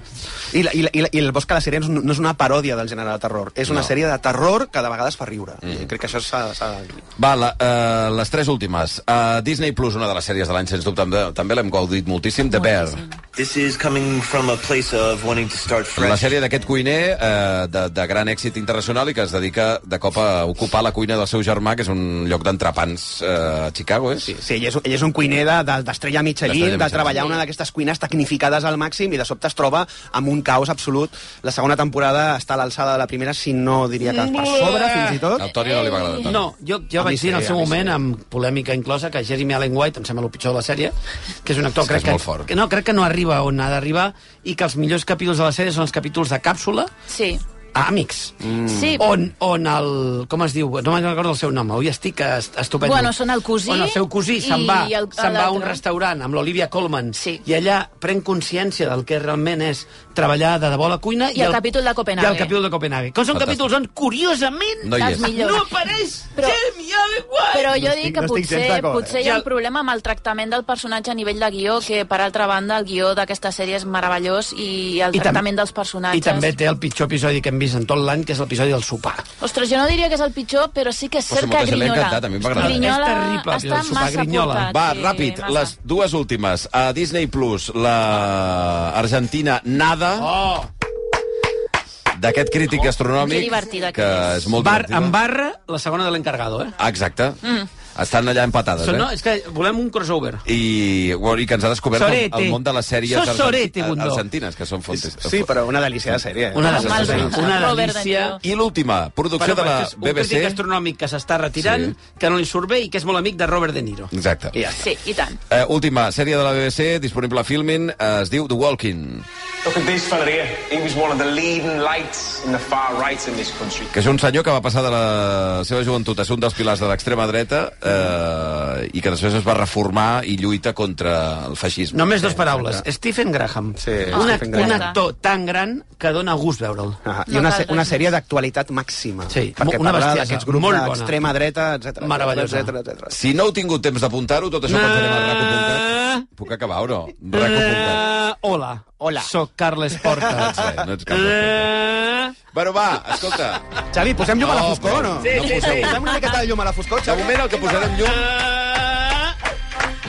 I, la, i, la, i, la, I el Bosc de les Sirenes no no és una paròdia del gènere de terror, és una No. Mhm. sèrie de terror que de vegades fa riure. Mm. Crec que això eh, s'ha... s'ha- Va, la, uh, les tres últimes. Uh, Disney Plus, una de les sèries de l'any, sens dubte, també, també l'hem gaudit moltíssim, The Bear. This is coming from a place of wanting to start La fresh. sèrie d'aquest cuiner eh, de, de gran èxit internacional i que es dedica de cop a ocupar la cuina del seu germà, que és un lloc d'entrepans eh, a Chicago, és? Sí, sí ell, és, ell és un cuiner de- de- d'estrella de, D'estrella Michelin, de Michelin. treballar a una d'aquestes cuines tecnificades al màxim i de sobte es troba amb un caos absolut. La segona temporada està a l'alçada de la primera, si no diria que per sobre, fins i tot. Al Toni no li va agradar tant. No, jo, A jo mi vaig dir en el sí, seu a mi moment, amb polèmica inclosa, que Jeremy Allen White, em sembla el pitjor de la sèrie, que és un actor És que és crec, molt que, fort. que, no, crec que no arriba on ha d'arribar i que els millors capítols de la sèrie són els capítols de càpsula Sí. a Amics. Mm. Sí. On, on el... Com es diu? No me'n recordo el seu nom. Avui estic eh, est- estupendo. Bueno, són el cosí On el seu cosí se'n i va, el- se'n va a un l'altre. restaurant amb l'Olivia Colman sí. i allà pren consciència del que realment és treballar de debò a la cuina I el capítol de Copenhague. I el capítol de Copenhague. Que són Fantàstic. capítols on, curiosament, No hi és. Els millors. no apareix Però- Jeremy Allen White! Però jo dic que potser, potser hi I ha un el- problema amb el tractament del personatge a nivell de guió, que per altra banda el guió d'aquesta sèrie és meravellós i el I tam- tractament dels I personatges. també té el pitjor episodi que hem vist en tot l'any, que és l'episodi del sopar. Ostres, jo no diria que és el pitjor, però sí que és Però si cert que molta gent li ha Grinyola. encantat, a mi em va agradar. Grinyola És terrible, està el sopar massa Grinyola. portat. Va, sí, ràpid, massa. les dues últimes. A Disney Plus, la argentina Nada, oh. d'aquest crític Que gastronòmic, divertida que que és molt Bar, divertida. en barra, la segona de l'encargado, eh? Ah, Exacte. Mm. Estan allà empatades, So, no, eh? és que volem un crossover. Eh, I, bueno, i que ens ha descobert el, Sorete. el món de les sèries Sos sorete, argenti- Gundó. argentines, que són fontes. Sí, però una delícia de sèrie. Eh? Una de les Una delícia... I l'última, producció de la és Un BBC. crític gastronòmic que s'està retirant, sí. que no li surt bé i que és molt amic de Robert De Niro. Exacte. Sí, i tant. Eh, última sèrie de la BBC, disponible a Filmin, eh, es diu The Walking, Look at this fella here. He was one of the leading lights in the far right in this country. que és un senyor que va passar de la seva joventut a ser un dels pilars de l'extrema dreta eh, i que després es va reformar i lluita contra el feixisme. Només dues paraules. Stephen Graham. Sí, un, Stephen Graham. un actor tan gran que dona gust veure'l. Ah, I una, se- una sèrie d'actualitat màxima. Sí, perquè una parla bestiesa, d'aquests grups molt bona. d'extrema dreta, etc. Meravellosa. etc. Si no heu tingut temps d'apuntar-ho, tot això no. quan farem el Ah! reconpuntat... Puc acabar o no? Reconpuntat. Uh, Eh, hola. Hola. Soc Carles No Porta. Eh, ets res, no ets cap reconpuntat. Bueno, va, escolta. Xavi, posem llum a la No, foscor, però- no? Sí, no sí, sí. Posem una miqueta de llum a la foscor, De moment el que posarem llum...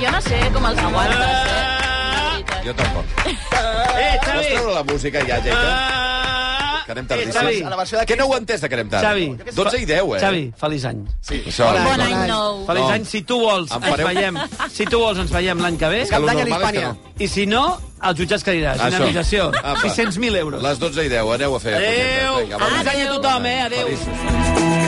Jo no sé com els aguantes. Jo tampoc. Eh, Pots Xavi! treure la música ja, Jaita? eh? Que anem tardíssim. Xavi. Eh, que no ho he entès de que anem tard? Xavi. 12 i 10, eh? Xavi, feliç any. Sí. Això, Bon Bon any. any nou. Feliç No. any, si tu vols, Em ens fareu- veiem. Si tu vols, ens veiem l'any que ve. És Cap que lo d'any a normal és que l'Hispània. I si no, als jutjats que diràs. Una Això. acusació. Apa. 600.000 euros. Les 12 i 10, aneu a fer. Adéu. cosetes. Vinga, bon Feliç any a tothom, eh? Adéu. Feliços.